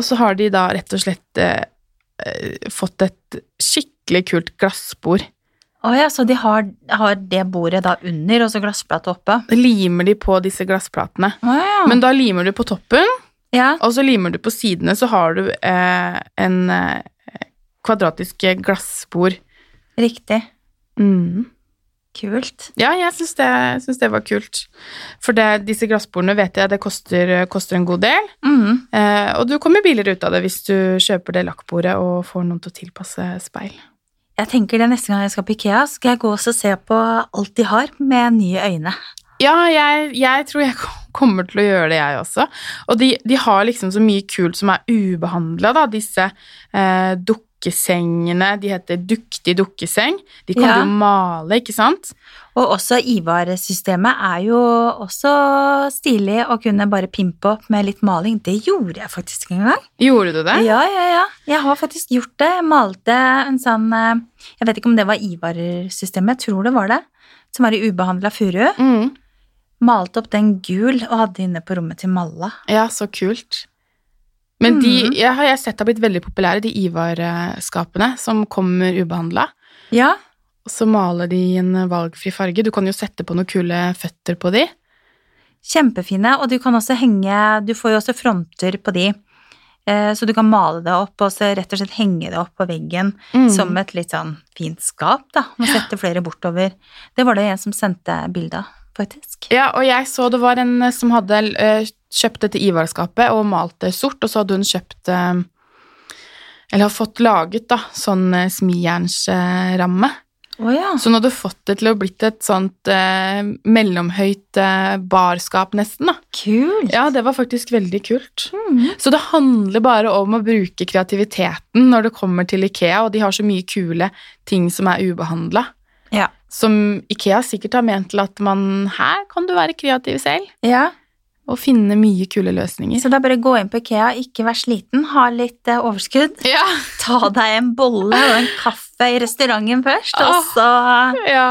S1: Og så har de da rett og slett eh, eh, fått et skikkelig kult glassbord.
S2: Å ja, så de har, har det bordet da under, og så glassplate oppe?
S1: Limer de på disse glassplatene.
S2: Å ja.
S1: Men da limer du på toppen,
S2: ja.
S1: og så limer du på sidene, så har du eh, en eh, kvadratisk glassbord.
S2: Riktig.
S1: Mm.
S2: Kult.
S1: Ja, jeg syns det, syns det var kult. For det, disse glassbordene vet jeg det koster, koster en god del.
S2: Mm.
S1: Eh, og du kommer billigere ut av det hvis du kjøper det lakkbordet og får noen til å tilpasse speil.
S2: Jeg tenker det neste gang jeg skal på Ikea, skal jeg gå og så se på alt de har med nye øyne.
S1: Ja, jeg, jeg tror jeg kom- kommer til å gjøre det, jeg også. Og de, de har liksom så mye kult som er ubehandla, da. Disse eh, dukkesengene. De heter Duktig dukkeseng. De kan
S2: Ja.
S1: du jo male, ikke sant?
S2: Og også Ivar-systemet er jo også stilig å kunne bare pimpe opp med litt maling. Det gjorde jeg faktisk en gang.
S1: Gjorde du det?
S2: Ja, ja, ja. Jeg har faktisk gjort det. Jeg malte en sånn eh, Jeg vet ikke om det var Ivar-systemet, jeg tror det var det. Som var i ubehandla furu.
S1: Mm.
S2: Malte opp den gul og hadde inne på rommet til Malla.
S1: Ja, så kult. Men de
S2: Mhm.
S1: jeg har jeg har sett har blitt veldig populære, de Ivar-skapene som kommer ubehandla.
S2: Ja,
S1: Og så maler de i en valgfri farge. Du kan jo sette på noen kule føtter på de.
S2: Kjempefine, og du kan også henge Du får jo også fronter på de. Eh, Så du kan male det opp og så rett og slett henge det opp på veggen som et litt sånn fint skap, da. Og sette flere bortover. Det var det en som sendte bilde av, faktisk.
S1: Ja, og jeg så det var en som hadde eh, kjøpt dette Ivar-skapet og malt det sort, og så hadde hun kjøpt eh, Eller har fått laget, da, sånn eh, smijernsramme.
S2: Å ja.
S1: Så hun hadde fått det til å blitt et sånt eh, mellomhøyt eh, barskap, nesten, da.
S2: Kult.
S1: Ja, det var faktisk veldig kult.
S2: Mm.
S1: Så det handler bare om å bruke kreativiteten når det kommer til Ikea, og de har så mye kule ting som er ubehandla.
S2: Ja.
S1: Som Ikea sikkert har ment til at man her kan du være kreativ selv
S2: ja.
S1: og finne mye kule løsninger.
S2: Så da bare gå inn på Ikea, ikke vær sliten, ha litt eh, overskudd.
S1: Ja,
S2: Ta deg en bolle og en kaffe i restauranten først, og
S1: Åh.
S2: så
S1: ja.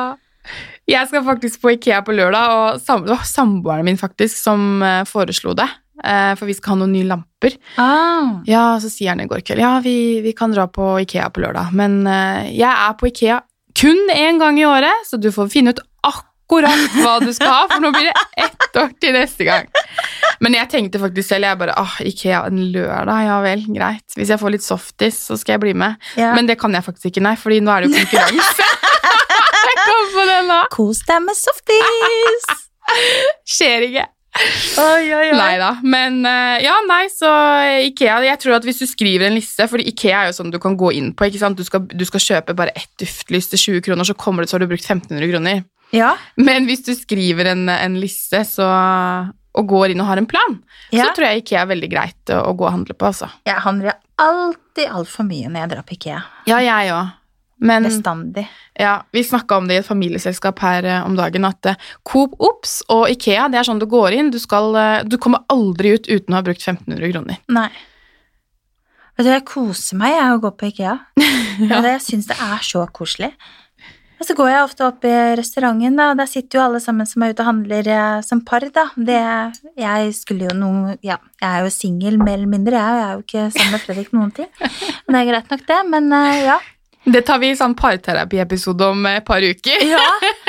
S1: Jeg skal faktisk på Ikea på lørdag, og sam det var samboeren min faktisk som eh, foreslo det. eh, For vi skal ha noen nye lamper.
S2: ah.
S1: Ja, så sier han i går kveld Ja, vi, vi kan dra på Ikea på lørdag Men eh, jeg er på Ikea kun en gang i året Så du får finne ut akkurat hva du skal ha For nå blir det ett år til neste gang Men jeg tenkte faktisk selv Jeg bare, ah, Ikea en lørdag Ja vel, greit Hvis jeg får litt softis, så skal jeg bli med
S2: ja.
S1: Men det kan jeg faktisk ikke, nei Fordi nå er det jo konkurranse Jeg kom på det nå
S2: Kos deg med softis!
S1: Skjer ikke
S2: oi, oi,
S1: Nei da. Men eh, ja, nei, så eh, Ikea Jeg tror at hvis du skriver en liste Fordi Ikea er jo sånn du kan gå inn på. ikke sant? Du skal, du skal kjøpe bare ett duftlys til 20 kroner, så kommer det så har du brukt 1500 kroner.
S2: Ja,
S1: Men hvis du skriver en, en liste så, og går inn og har en plan,
S2: ja.
S1: så tror jeg Ikea er veldig greit å, å gå og handle på. altså.
S2: Jeg handler alltid altfor mye når jeg drar på Ikea.
S1: Ja, jeg òg. Men
S2: Bestandig.
S1: ja, vi snakka om det i et familieselskap her eh, om dagen, at eh, Coop Ops og Ikea det er sånn du går inn. Du, skal, eh, du kommer aldri ut uten å ha brukt 1500 kroner.
S2: Nei. Vet du, jeg koser meg jeg å gå på Ikea. Og det, jeg syns det er så koselig. Og så går jeg ofte opp i restauranten, da, og der sitter jo alle sammen som er ute og handler eh, som par, da. Det, jeg skulle jo noen Ja, jeg er jo singel mer eller mindre, jeg, og jeg er jo ikke sammen med Fredrik noen ting. Men det er greit nok, det. Men eh, ja.
S1: Det tar vi i sånn parterapiepisode om et par uker.
S2: ja.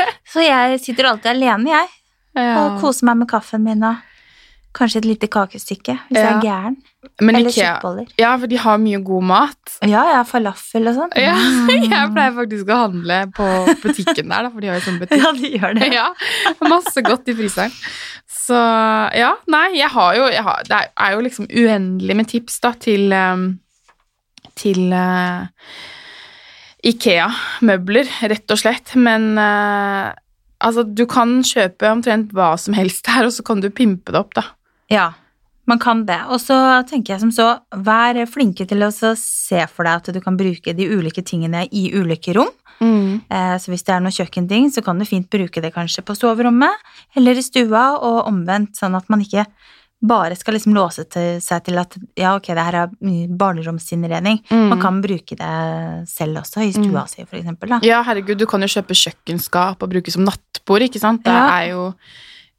S2: Så jeg sitter alltid alene, jeg. Og koser meg med kaffen min og kanskje et lite kakestykke hvis jeg
S1: Ja.
S2: er gæren.
S1: Men
S2: Eller
S1: Ikea,
S2: kjøttboller.
S1: ja, for de har mye god mat.
S2: Ja, ja, falafel og sånn.
S1: Ja, jeg pleier faktisk å handle på butikken der, da, for de har jo sånn butikk.
S2: Ja, de gjør det.
S1: Ja, masse godt i fryseren. Så ja, nei, jeg har jo jeg har, Det er jo liksom uendelig med tips da til ehm, Til eh, Ikea-møbler, rett og slett. Men eh, altså, du kan kjøpe omtrent hva som helst her, og så kan du pimpe det opp, da.
S2: Ja, man kan det. Og så tenker jeg som så, vær flinke til å så se for deg at du kan bruke de ulike tingene i ulike rom. Eh, Så hvis det er noen kjøkkenting, så kan du fint bruke det kanskje på soverommet eller i stua, og omvendt, sånn at man ikke bare skal liksom låse til seg til at ja, ok, det her er mye barneromsinnredning.
S1: Mm.
S2: Man kan bruke det selv også, i stua
S1: Mm.
S2: si for eksempel. Da.
S1: Ja, herregud, du kan jo kjøpe kjøkkenskap og bruke som nattbord, ikke sant? Det
S2: Ja.
S1: er jo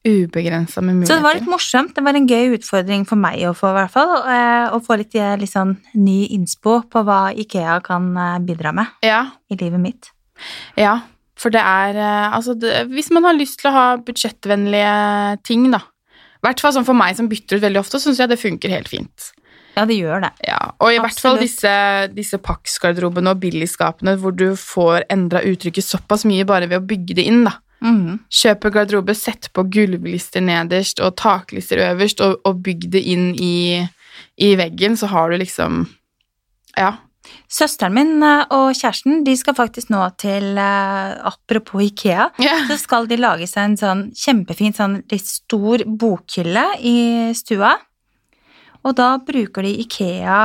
S1: ubegrensa med muligheter.
S2: Så det var litt morsomt. Det var en gøy utfordring for meg å få, i hvert fall. eh, Å få litt, eh, litt sånn ny innspo på hva Ikea kan eh, bidra med
S1: Ja,
S2: i livet mitt.
S1: ja. For det er eh, Altså, det, hvis man har lyst til å ha budsjettvennlige ting, da. I hvert fall sånn for meg som bytter ut veldig ofte, syns jeg det funker helt fint.
S2: Ja, det gjør det.
S1: Ja, Og i hvert fall
S2: Absolutt.
S1: disse, disse Pax-garderobene og billigskapene hvor du får endra uttrykket såpass mye bare ved å bygge det inn, da.
S2: Mhm.
S1: Kjøpe garderobe, sett på gulvlister nederst og taklister øverst, og, og bygg det inn i, i veggen, så har du liksom Ja.
S2: Søsteren min eh, og kjæresten de skal faktisk nå til eh, Apropos Ikea, så skal de lage seg en sånn kjempefin, sånn litt stor bokhylle i stua. Og da bruker de Ikea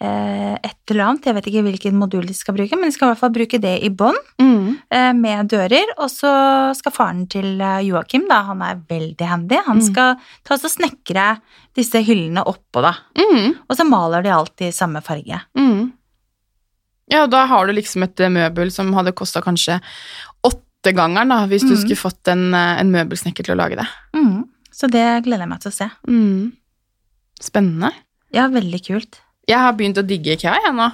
S2: eh, et eller annet, jeg vet ikke hvilken modul de skal bruke, men de skal i hvert fall bruke det i bånn.
S1: Mm.
S2: eh, med dører, og så skal faren til eh, Joakim, da, han er veldig handy, han
S1: Mm.
S2: skal ta oss og snekre disse hyllene oppå, da.
S1: Mm.
S2: Og så maler de alt i samme farge.
S1: Mm. Ja, da har du liksom et eh, møbel som hadde kosta kanskje åttegangeren, da, hvis du
S2: Mm.
S1: skulle fått en, eh, en møbelsnekker til å lage det.
S2: Mm. Så det gleder jeg meg til å se.
S1: Mm. Spennende.
S2: Ja, veldig kult.
S1: Jeg har begynt å digge IKEA, jeg nå.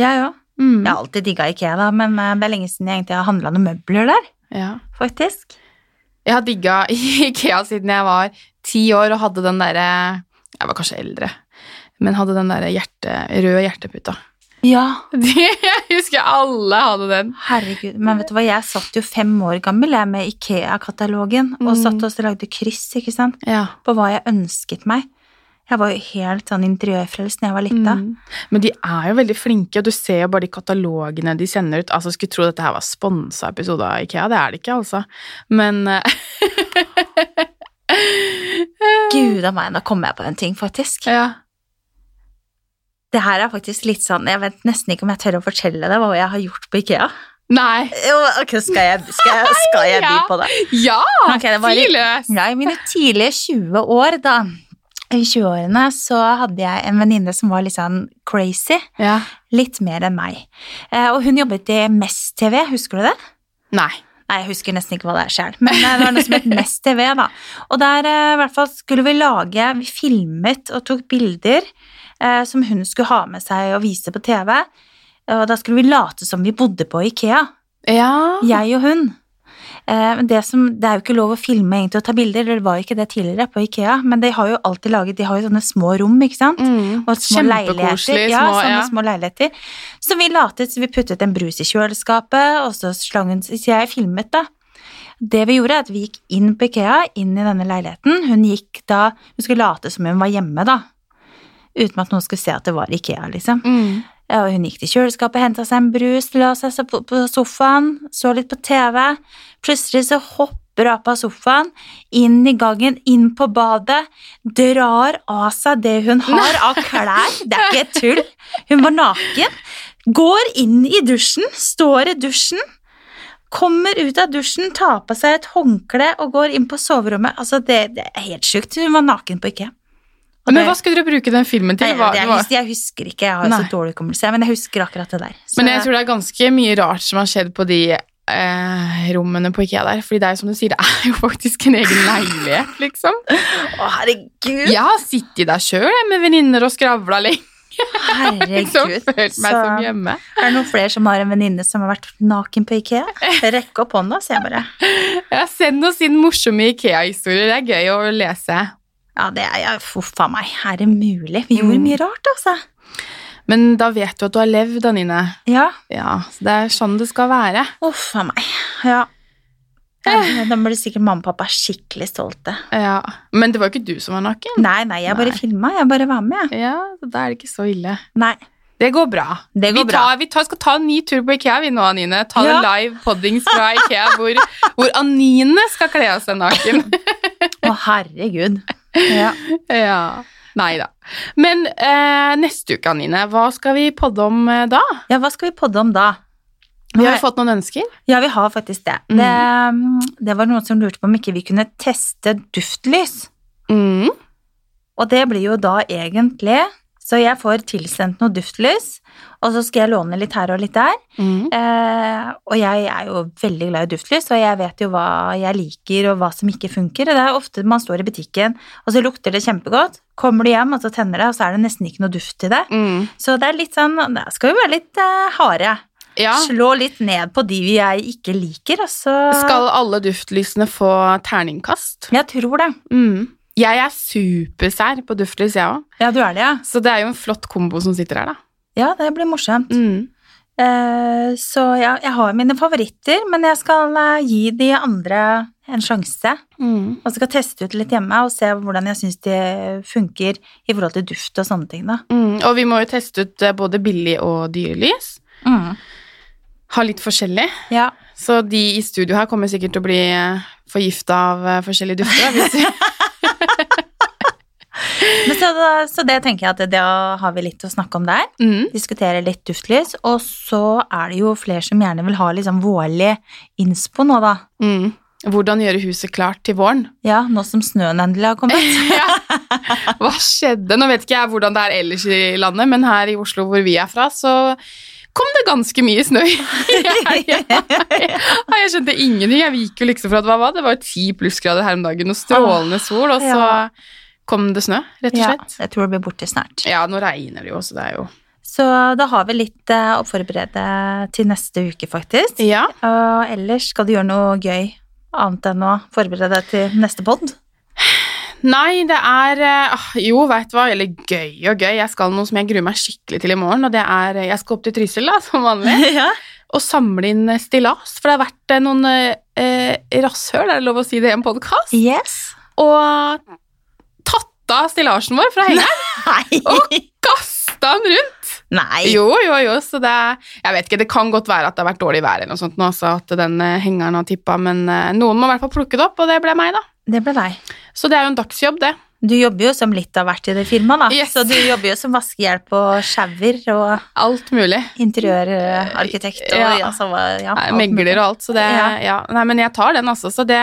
S2: Jeg òg.
S1: Mm.
S2: Jeg har alltid digga Ikea, da, men eh, det er lenge siden jeg egentlig har handla noen møbler der.
S1: Ja.
S2: faktisk.
S1: Jeg har digga Ikea siden jeg var ti år og hadde den derre Jeg var kanskje eldre, men hadde den derre hjerte, røde hjerteputa.
S2: Ja,
S1: Det, jeg husker alle hadde den.
S2: herregud. Men vet du hva, jeg satt jo fem år gammel jeg med Ikea-katalogen og
S1: Mm.
S2: satt og lagde kryss ikke sant?
S1: Ja.
S2: på hva jeg ønsket meg. Jeg var jo helt sånn interiørfrelst da jeg var lita.
S1: Mm. Men de er jo veldig flinke, og du ser jo bare de katalogene de sender ut. Altså, Skulle tro dette her var sponsa episode av Ikea, det er det ikke, altså. Men eh,
S2: Gud a meg, nå kom jeg på en ting, faktisk.
S1: ja.
S2: Det her er faktisk litt sånn Jeg vet nesten ikke om jeg tør å fortelle deg hva jeg har gjort på Ikea.
S1: Nei.
S2: Jo, ok, skal jeg, skal jeg, skal jeg by
S1: Ja.
S2: på det?
S1: Ja!
S2: Ok, det var litt-
S1: Tidløs!
S2: Ja, I mine tidlige 20 år, da, i 20-årene, så hadde jeg en venninne som var litt sånn crazy.
S1: Ja.
S2: Litt mer enn meg. Eh, og hun jobbet i Mest TV, husker du det?
S1: Nei.
S2: Nei, jeg husker nesten ikke hva det er sjøl, men eh, det var noe som het Mest TV, da. Og der eh, i hvert fall skulle vi lage Vi filmet og tok bilder eh, som hun skulle ha med seg og vise på TV. Og da skulle vi late som vi bodde på Ikea,
S1: Ja.
S2: jeg og hun. Eh, men det, som, det er jo ikke lov å filme egentlig og ta bilder, det var jo ikke det tidligere på Ikea, men de har jo alltid laget De har jo sånne små rom, ikke sant?
S1: Mm.
S2: Og små leiligheter.
S1: Kjempekoselig.
S2: Ja,
S1: små-
S2: sånne
S1: ja.
S2: små leiligheter. Så vi latet, så vi puttet en brus i kjøleskapet, og så slang hun Så jeg filmet, da. Det vi gjorde, er at vi gikk inn på Ikea, inn i denne leiligheten. Hun gikk da Hun skulle late som hun var hjemme, da. Uten at noen skulle se at det var Ikea, liksom.
S1: Mm.
S2: Ja, og hun gikk til kjøleskapet, henta seg en brus, la seg så på på sofaen, så litt på TV. Plutselig så hopper hun opp av sofaen, inn i gangen, inn på badet, drar av seg det hun har av klær. Det er ikke tull. Hun var naken. Går inn i dusjen, står i dusjen. Kommer ut av dusjen, tar på seg et håndkle og går inn på soverommet. Altså, det, det er helt sjukt. Hun var naken på Ikea. Og
S1: Men
S2: det-
S1: hva skulle dere bruke den filmen til?
S2: Nei,
S1: Hva-
S2: det, jeg,
S1: hva-
S2: husker, jeg husker ikke, jeg har jo
S1: Nei.
S2: så dårlig hukommelse, men jeg husker akkurat det der. Så,
S1: Men jeg tror det er ganske mye rart som har skjedd på de eh, rommene på Ikea der. Fordi det er jo som du sier, det er jo faktisk en egen leilighet, liksom.
S2: Å, herregud!
S1: Jeg har sittet der sjøl med venninner og skravla lenge. Liksom,
S2: herregud.
S1: følt meg
S2: Så,
S1: som hjemme.
S2: er det noen flere som har en venninne som har vært naken på Ikea? Rekk opp hånda, sier jeg bare.
S1: Ja, send oss inn morsomme Ikea-historier. Det er gøy å lese.
S2: Ja, det er jeg. Uff a meg. Er det mulig? Vi gjorde
S1: Mm.
S2: mye rart, altså.
S1: Men da vet du at du har levd, Anine.
S2: Ja.
S1: Ja, så det er sånn det skal være.
S2: Uff a meg. Ja. Ja, Da blir sikkert mamma og pappa skikkelig stolte.
S1: Ja. Men det var jo ikke du som var naken.
S2: Nei, nei, jeg bare
S1: Nei.
S2: filma. Jeg bare var med, jeg.
S1: Ja, så da er det ikke så ille.
S2: Nei.
S1: Det går bra.
S2: Det går
S1: vi
S2: bra.
S1: Tar, vi tar, skal ta en ny tur på Ikea vi nå, Anine. Ta
S2: Ja.
S1: en live poddings fra Ikea hvor, hvor Anine skal kle av seg naken.
S2: Å, herregud. Ja.
S1: ja. Nei da. Men eh, neste uke, Anine, hva skal vi podde om eh, da?
S2: ja, hva skal vi podde om da?
S1: Vi har jo fått noen ønsker.
S2: Ja, vi har faktisk det. um, Det, det var noen som lurte på om ikke vi kunne teste duftlys.
S1: Mm.
S2: Og det blir jo da egentlig Så jeg får tilsendt noe duftlys, og så skal jeg låne litt her og litt der.
S1: Mm.
S2: Eh, og jeg er jo veldig glad i duftlys, og jeg vet jo hva jeg liker og hva som ikke funker. Og det er ofte man står i butikken, og så lukter det kjempegodt. Kommer du hjem, og så tenner det, og så er det nesten ikke noe duft i det.
S1: Mm.
S2: Så det er litt sånn Da skal vi være litt eh, harde.
S1: Ja.
S2: Slå litt ned på de jeg ikke liker, og så
S1: Skal alle duftlysene få terningkast?
S2: Jeg tror det.
S1: Mm. Jeg er supersær på duftlys, jeg òg.
S2: Ja, du er det, ja.
S1: Så det er jo en flott kombo som sitter her, da.
S2: Ja, det blir morsomt.
S1: Mm.
S2: Eh, så ja, jeg har mine favoritter, men jeg skal eh, gi de andre en sjanse.
S1: Mm.
S2: Og skal teste ut litt hjemme og se hvordan jeg syns de funker i forhold til duft og sånne ting. da.
S1: Mm. Og vi må jo teste ut eh, både billig og dyrlys. Mm. ha litt forskjellig.
S2: Ja.
S1: Så de i studio her kommer sikkert til å bli forgifta av eh, forskjellige dufter. da, Hvis
S2: Men så, da- så det tenker jeg at da har vi litt å snakke om der.
S1: mm.
S2: Diskutere litt duftlys. Og så er det jo flere som gjerne vil ha litt sånn vårlig innspo nå, da.
S1: Mm. Hvordan gjøre huset klart til våren?
S2: Ja, nå som snøen endelig har kommet.
S1: Hva skjedde? Nå vet ikke jeg hvordan det er ellers i landet, men her i Oslo hvor vi er fra, så kom det ganske mye snø. Jeg, jeg, jeg skjønte ingenting. Jeg gikk jo liksom for at hva var det? Det var jo ti plussgrader her om dagen og strålende sol, og så
S2: Ah, Ja.
S1: kom det snø, rett og
S2: Ja,
S1: slett.
S2: jeg tror det blir borte snart.
S1: Ja, nå regner det jo, så det er jo
S2: Så da har vi litt eh, å forberede til neste uke, faktisk.
S1: Ja.
S2: Og ellers skal du gjøre noe gøy annet enn å forberede deg til neste pod.
S1: Nei, det er eh, ah, Jo, veit du hva, eller gøy og gøy. Jeg skal noe som jeg gruer meg skikkelig til i morgen, og det er eh, Jeg skal opp til Trysil, da, som vanlig,
S2: ja.
S1: og samle inn eh, stillas. For det har vært eh, noen eh, eh, rasshøl, er det lov å si det i en podkast?
S2: Yes.
S1: Og tatt av stillasjen vår fra hengeren.
S2: Nei.
S1: Kasta den rundt!
S2: Nei.
S1: Jo, jo, jo, så det er Jeg vet ikke, det kan godt være at det har vært dårlig vær eller noe sånt nå, så at den eh, hengeren har tippa, men eh, noen må i hvert fall plukke det opp, og det ble meg, da.
S2: Det ble deg.
S1: Så det er jo en dagsjobb, det.
S2: Du jobber jo som litt av hvert i det firmaet, da.
S1: Yes.
S2: Så du jobber jo som vaskehjelp og sjauer og
S1: Alt mulig.
S2: interiørarkitekt og
S1: Ja.
S2: ja. altså, ja,
S1: Nei,
S2: alt mulig.
S1: megler og alt, så det ja.
S2: Ja.
S1: Nei, men jeg tar den, altså. Så det,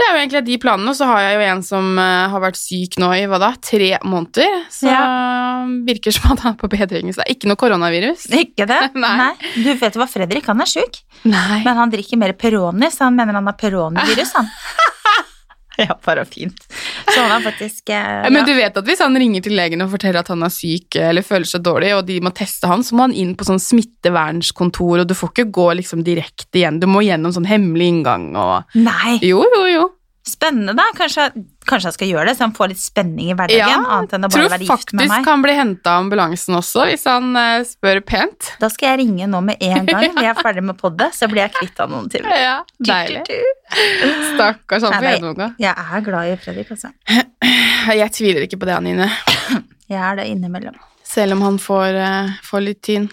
S1: det er jo egentlig de planene. Og så har jeg jo en som eh, har vært syk nå i hva da, tre måneder. Så eh, virker som at han er på bedring. Så det er ikke noe koronavirus.
S2: Ikke det?
S1: Nei.
S2: Du vet jo hva, Fredrik han er sjuk,
S1: Nei.
S2: men han drikker mer Peroni, så han mener han har Peroni-virus, han. ja, bare fint. Så han er faktisk eh,
S1: Men
S2: ja.
S1: du vet at hvis han ringer til legen og forteller at han er syk eh, eller føler seg dårlig, og de må teste han, så må han inn på sånn smittevernskontor, og du får ikke gå liksom direkte igjen. Du må gjennom sånn hemmelig inngang og
S2: Nei,
S1: Jo, jo, jo.
S2: spennende, da. Kanskje, kanskje han skal gjøre det, så han får litt spenning i hverdagen,
S1: Ja,
S2: annet enn å
S1: Tror
S2: bare være gift med
S1: faktisk
S2: meg.
S1: han blir henta av ambulansen også, hvis han eh, spør pent.
S2: Da skal jeg ringe nå med en gang vi er ferdig med poddet, så blir jeg kvitt han noen timer.
S1: Ja, deilig. Stakkars, han
S2: Nei,
S1: får
S2: nei.
S1: gjennomgå.
S2: Jeg er glad i Fredrik, altså.
S1: Jeg tviler ikke på det, Anine.
S2: Jeg er det innimellom.
S1: Selv om han får, eh, får litt tynn.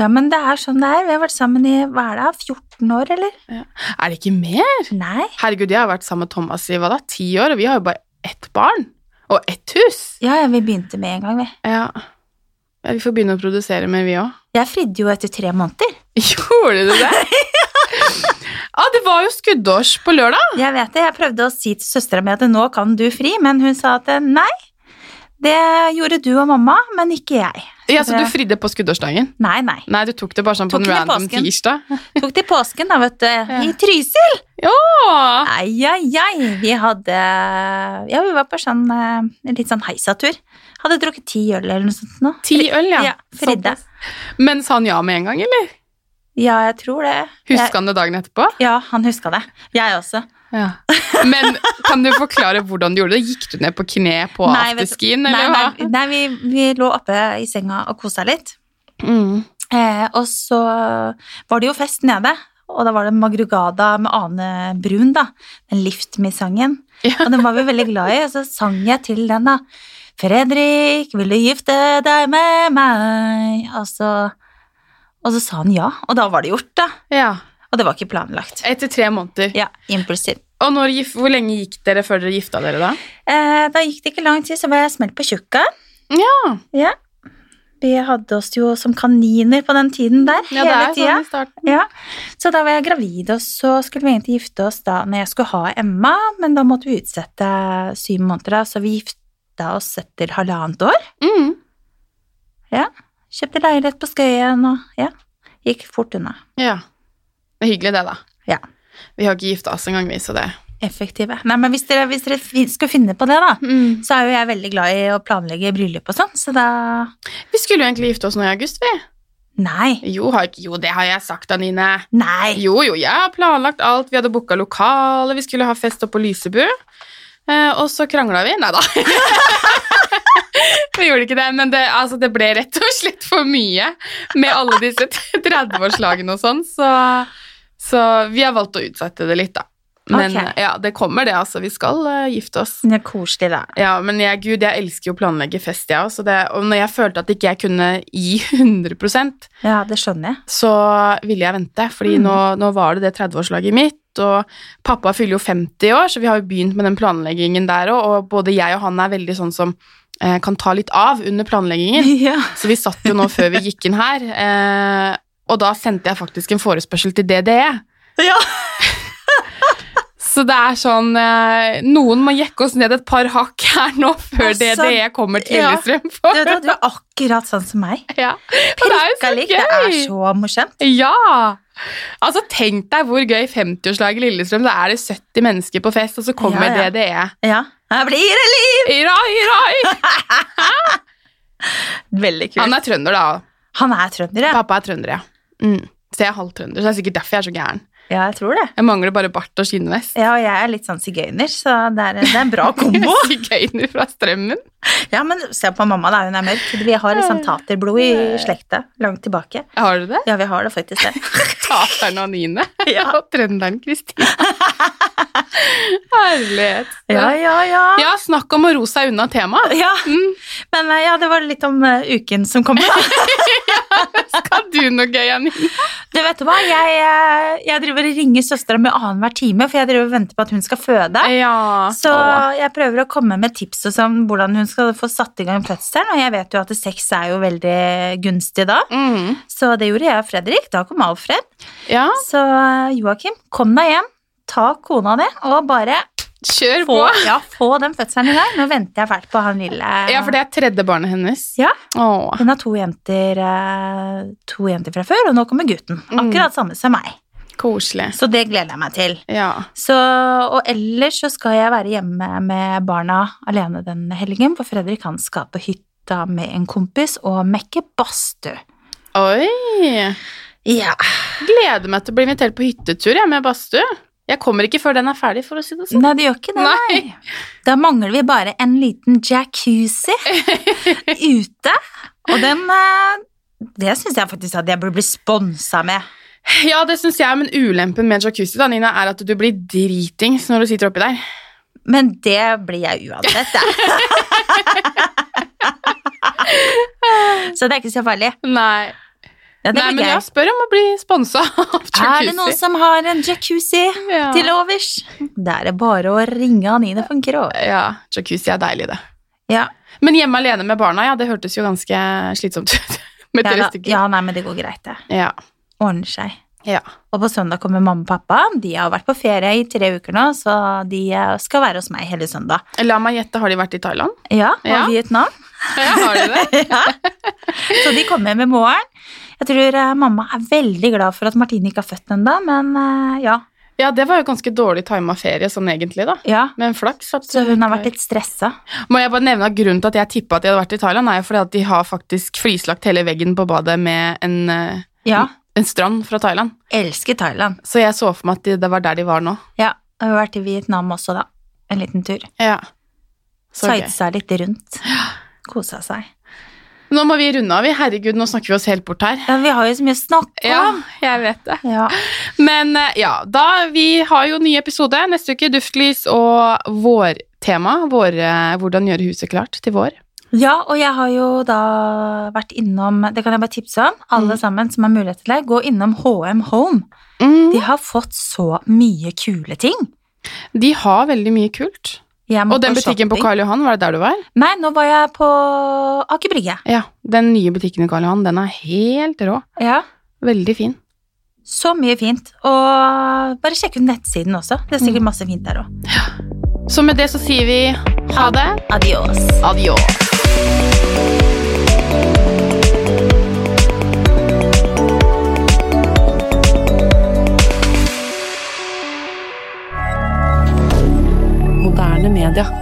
S2: Ja, men det er sånn det er. Vi har vært sammen i hva er det, 14 år, eller?
S1: Er det ikke mer?
S2: Nei.
S1: Herregud, jeg har vært sammen med Thomas i hva da, ti år, og vi har jo bare ett barn. Og ett hus.
S2: Ja, ja, vi begynte med en gang, vi.
S1: Ja. ja vi får begynne å produsere mer, vi òg.
S2: Jeg fridde jo etter tre måneder.
S1: Gjorde du det? Ja, det var jo skuddårs på lørdag.
S2: Jeg vet det, jeg prøvde å si til søstera mi at nå kan du fri, men hun sa at eh, nei. Det gjorde du og mamma, men ikke jeg.
S1: Ja, Så du fridde på skuddårsdagen?
S2: Nei, nei.
S1: Nei, du tok det bare sånn på
S2: Tok
S1: en
S2: det i
S1: random
S2: påsken.
S1: tirsdag?
S2: Tok til påsken, da, vet du. I Trysil!
S1: Å,
S2: Ai, ai, ai. Vi hadde Ja, vi var på sånn eh, litt sånn heisatur. Hadde drukket ti øl eller noe sånt nå.
S1: ti øl, ja.
S2: Ja, fridde.
S1: Såpass. Men sa han ja med en gang, eller?
S2: Ja, jeg tror det.
S1: Huska
S2: Jeg-
S1: han det dagen etterpå?
S2: Ja, han huska det. Jeg også.
S1: Ja. Men kan du forklare hvordan du gjorde det? Gikk du ned på kne på
S2: Nei, vet du-
S1: afterskien,
S2: Nei,
S1: eller hva?
S2: nei, nei vi, vi lå oppe i senga og kosa litt.
S1: Mm.
S2: Eh, og så var det jo fest nede, og da var det Magrugada med Ane Brun, da. Den Lift Me-sangen.
S1: Ja.
S2: Og den var vi veldig glad i, og så sang jeg til den, da. Fredrik, vil du gifte deg med meg? Og så, og så sa han ja, og da var det gjort, da.
S1: ja.
S2: Og det var ikke planlagt.
S1: Etter tre måneder.
S2: Ja, impulsiv.
S1: Og når, gif- hvor lenge gikk dere før dere gifta dere, da?
S2: Eh, da gikk det ikke lang tid, så var jeg smelt på tjukka.
S1: Ja.
S2: Ja. Vi hadde oss jo som kaniner på den tiden der,
S1: Ja, det
S2: hele
S1: er
S2: tida.
S1: sånn i starten.
S2: Ja, så da var jeg gravid, og så skulle vi egentlig gifte oss da når jeg skulle ha Emma, men da måtte vi utsette syv måneder, da, så vi gifta oss etter halvannet år.
S1: Mm.
S2: Kjøpte leilighet på Skøyen og ja, gikk fort unna.
S1: Ja. Det er hyggelig, det, da.
S2: Ja.
S1: Vi har ikke gifta oss engang, vi, så det
S2: Effektive. Nei, men hvis dere, hvis dere fi- skulle finne på det, da,
S1: mm.
S2: så er jo jeg veldig glad i å planlegge bryllup og sånn, så da
S1: Vi skulle jo egentlig gifte oss nå i august, vi.
S2: Nei.
S1: Jo, har ikke, jo det har jeg sagt, Anine.
S2: Nei!
S1: Jo, jo, jeg har planlagt alt. Vi hadde booka lokale, vi skulle ha fest oppe på Lysebu. Eh, og så krangla vi. Nei da. vi gjorde ikke det, men det, altså, det ble rett og slett for mye med alle disse 30-årslagene og sånn. Så, så vi har valgt å utsette det litt, da. Men
S2: Ok.
S1: ja, det kommer, det. altså. Vi skal eh, gifte oss.
S2: Det er koselig, da.
S1: Ja, men jeg, Gud, jeg elsker jo å planlegge fest, jeg også. Det, og når jeg følte at ikke jeg kunne gi 100
S2: Ja, det skjønner jeg.
S1: så ville jeg vente, fordi
S2: Mm.
S1: nå, nå var det det 30-årslaget mitt, og pappa fyller jo 50 år, så vi har jo begynt med den planleggingen der òg, og både jeg og han er veldig sånn som eh, kan ta litt av under planleggingen.
S2: Ja.
S1: Så vi satt jo nå før vi gikk inn her, eh, og da sendte jeg faktisk en forespørsel til DDE.
S2: ja.
S1: Så det er sånn eh, Noen må jekke oss ned et par hakk her nå før
S2: Altså,
S1: DDE kommer til
S2: ja.
S1: Lillestrøm.
S2: Du,
S1: For,
S2: vet hva, du er akkurat sånn som meg.
S1: ja. Og det er jo så
S2: Prikka
S1: gøy!
S2: lik. Det er så morsomt.
S1: Ja! Altså, tenk deg hvor gøy 50-årslaget i Lillestrøm. Da er det 70 mennesker på fest, og så kommer
S2: Ja, ja.
S1: DDE.
S2: Ja. Her blir det liv!
S1: Irai, irai!
S2: Veldig
S1: Han er trønder, da.
S2: Han er trønder, ja.
S1: Pappa er trønder, ja. Mm. Så jeg er halvt trønder, så det er sikkert derfor jeg er så gæren.
S2: Ja, jeg tror det.
S1: Jeg mangler bare bart og skinnvest.
S2: Ja, og jeg er litt sånn sigøyner, så det er, det er en bra kombo.
S1: Sigøyner fra Strømmen.
S2: Ja, men se på mamma da, hun er mørk. Vi har liksom taterblod i slekta, langt tilbake.
S1: Har du det?
S2: Ja, vi har det faktisk det.
S1: Tateren Anine
S2: Ja.
S1: og trønderen Kristine. Herlighet.
S2: Ja, ja, ja.
S1: Ja, snakk om å ro seg unna temaet.
S2: Ja,
S1: Mm.
S2: men eh, ja, det var litt om eh, uken som kommer da.
S1: Skal du noe gøy, Anine?
S2: Du vet du hva, jeg, eh, jeg driver og ringer søstera mi annenhver time, for jeg driver og venter på at hun skal føde.
S1: Ja.
S2: Så jeg prøver å komme med tips og sånn, hvordan hun skal få satt i gang fødselen, og jeg vet jo at sex er jo veldig gunstig da.
S1: Mm.
S2: Så det gjorde jeg og Fredrik, da kom Alfred.
S1: ja.
S2: Så eh, Joakim, kom deg hjem, ta kona di, og bare
S1: Kjør
S2: få,
S1: på.
S2: ja, få den fødselen i gang. Nå venter jeg fælt på han lille.
S1: Ja, for det er tredje barnet hennes.
S2: Ja.
S1: Åh.
S2: Hun har to jenter, eh, to jenter fra før, og nå kommer gutten.
S1: Mm.
S2: Akkurat samme som meg.
S1: Koselig.
S2: Så det gleder jeg meg til.
S1: Ja.
S2: Så, og ellers så skal jeg være hjemme med barna alene den helgen, for Fredrik han skal på hytta med en kompis og mekke badstue.
S1: Oi.
S2: Ja.
S1: Gleder meg til å bli invitert på hyttetur jeg, med badstue. Jeg kommer ikke før den er ferdig, for å si det sånn.
S2: Nei, det gjør ikke det. Nei. Da mangler vi bare en liten jacuzzi ute, og den eh, Det syns jeg faktisk at jeg burde bli sponsa med.
S1: Ja, det syns jeg, men ulempen med jacuzzi da, Nina, er at du blir dritings når du sitter oppi der.
S2: Men det blir jeg uansett, jeg. så det er ikke så farlig.
S1: Nei,
S2: Ja, det
S1: Nei
S2: blir
S1: men
S2: gøy.
S1: jeg spør om å bli sponsa av jacuzzi.
S2: Er det noen som har en jacuzzi
S1: ja.
S2: til overs? Da er det bare å ringe Anine von Krogh.
S1: Ja, jacuzzi er deilig, det.
S2: Ja,
S1: Men hjemme alene med barna, ja, det hørtes jo ganske slitsomt ut. med
S2: ja,
S1: tre
S2: da,
S1: stykker.
S2: ja, nei, men det går greit, det.
S1: Ja.
S2: Ordner seg.
S1: ja.
S2: Og på søndag kommer mamma og pappa. De har vært på ferie i tre uker nå, så de eh, skal være hos meg hele søndag.
S1: La meg gjette, har de vært i Thailand?
S2: Ja, og
S1: Ja.
S2: Vietnam.
S1: Ja, har de det?
S2: ja. Så de kommer hjem i morgen. Jeg tror eh, mamma er veldig glad for at Martine ikke har født ennå, men eh, ja.
S1: Ja, det var jo ganske dårlig tima ferie sånn egentlig, da.
S2: ja.
S1: Men flaks. at
S2: Så
S1: du
S2: hun har
S1: ikke
S2: vært litt stressa.
S1: Må jeg bare nevne at Grunnen til at jeg tippa at de hadde vært i Thailand, er jo fordi at de har faktisk frislagt hele veggen på badet med en, eh,
S2: Ja.
S1: en strand fra Thailand.
S2: Elsker Thailand.
S1: Så jeg så for meg at de, det var der de var nå.
S2: Ja, og hun har vært i Vietnam også, da. En liten tur.
S1: Ja. Så gøy.
S2: Sightsa litt rundt. Kosa seg.
S1: Nå må vi runde av, vi. Herregud, nå snakker vi oss helt bort her.
S2: Ja, vi har jo så mye å snakke om.
S1: Ja, jeg vet det.
S2: Ja.
S1: Men eh, ja, da vi har jo ny episode neste uke. Duftlys og vårtema. Vår, eh, hvordan gjøre huset klart til vår.
S2: ja, og jeg har jo da vært innom Det kan jeg bare tipse om. Alle
S1: Mm.
S2: sammen som har mulighet til det, gå innom HM Home.
S1: Mm.
S2: De har fått så mye kule ting.
S1: De har veldig mye kult.
S2: Jeg må
S1: Og den butikken på
S2: Mm. shopping.
S1: Karl Johan, var det der du var?
S2: Nei, nå var jeg på Aker Brygge.
S1: Ja, Den nye butikken i Karl Johan, den er helt rå.
S2: Ja.
S1: Veldig fin.
S2: Så mye fint. Og bare sjekk ut nettsiden også. Det er
S1: Mm.
S2: sikkert masse fint der òg.
S1: Så med det så sier vi ha det.
S2: Adios.
S1: Adios.
S3: Moderne media.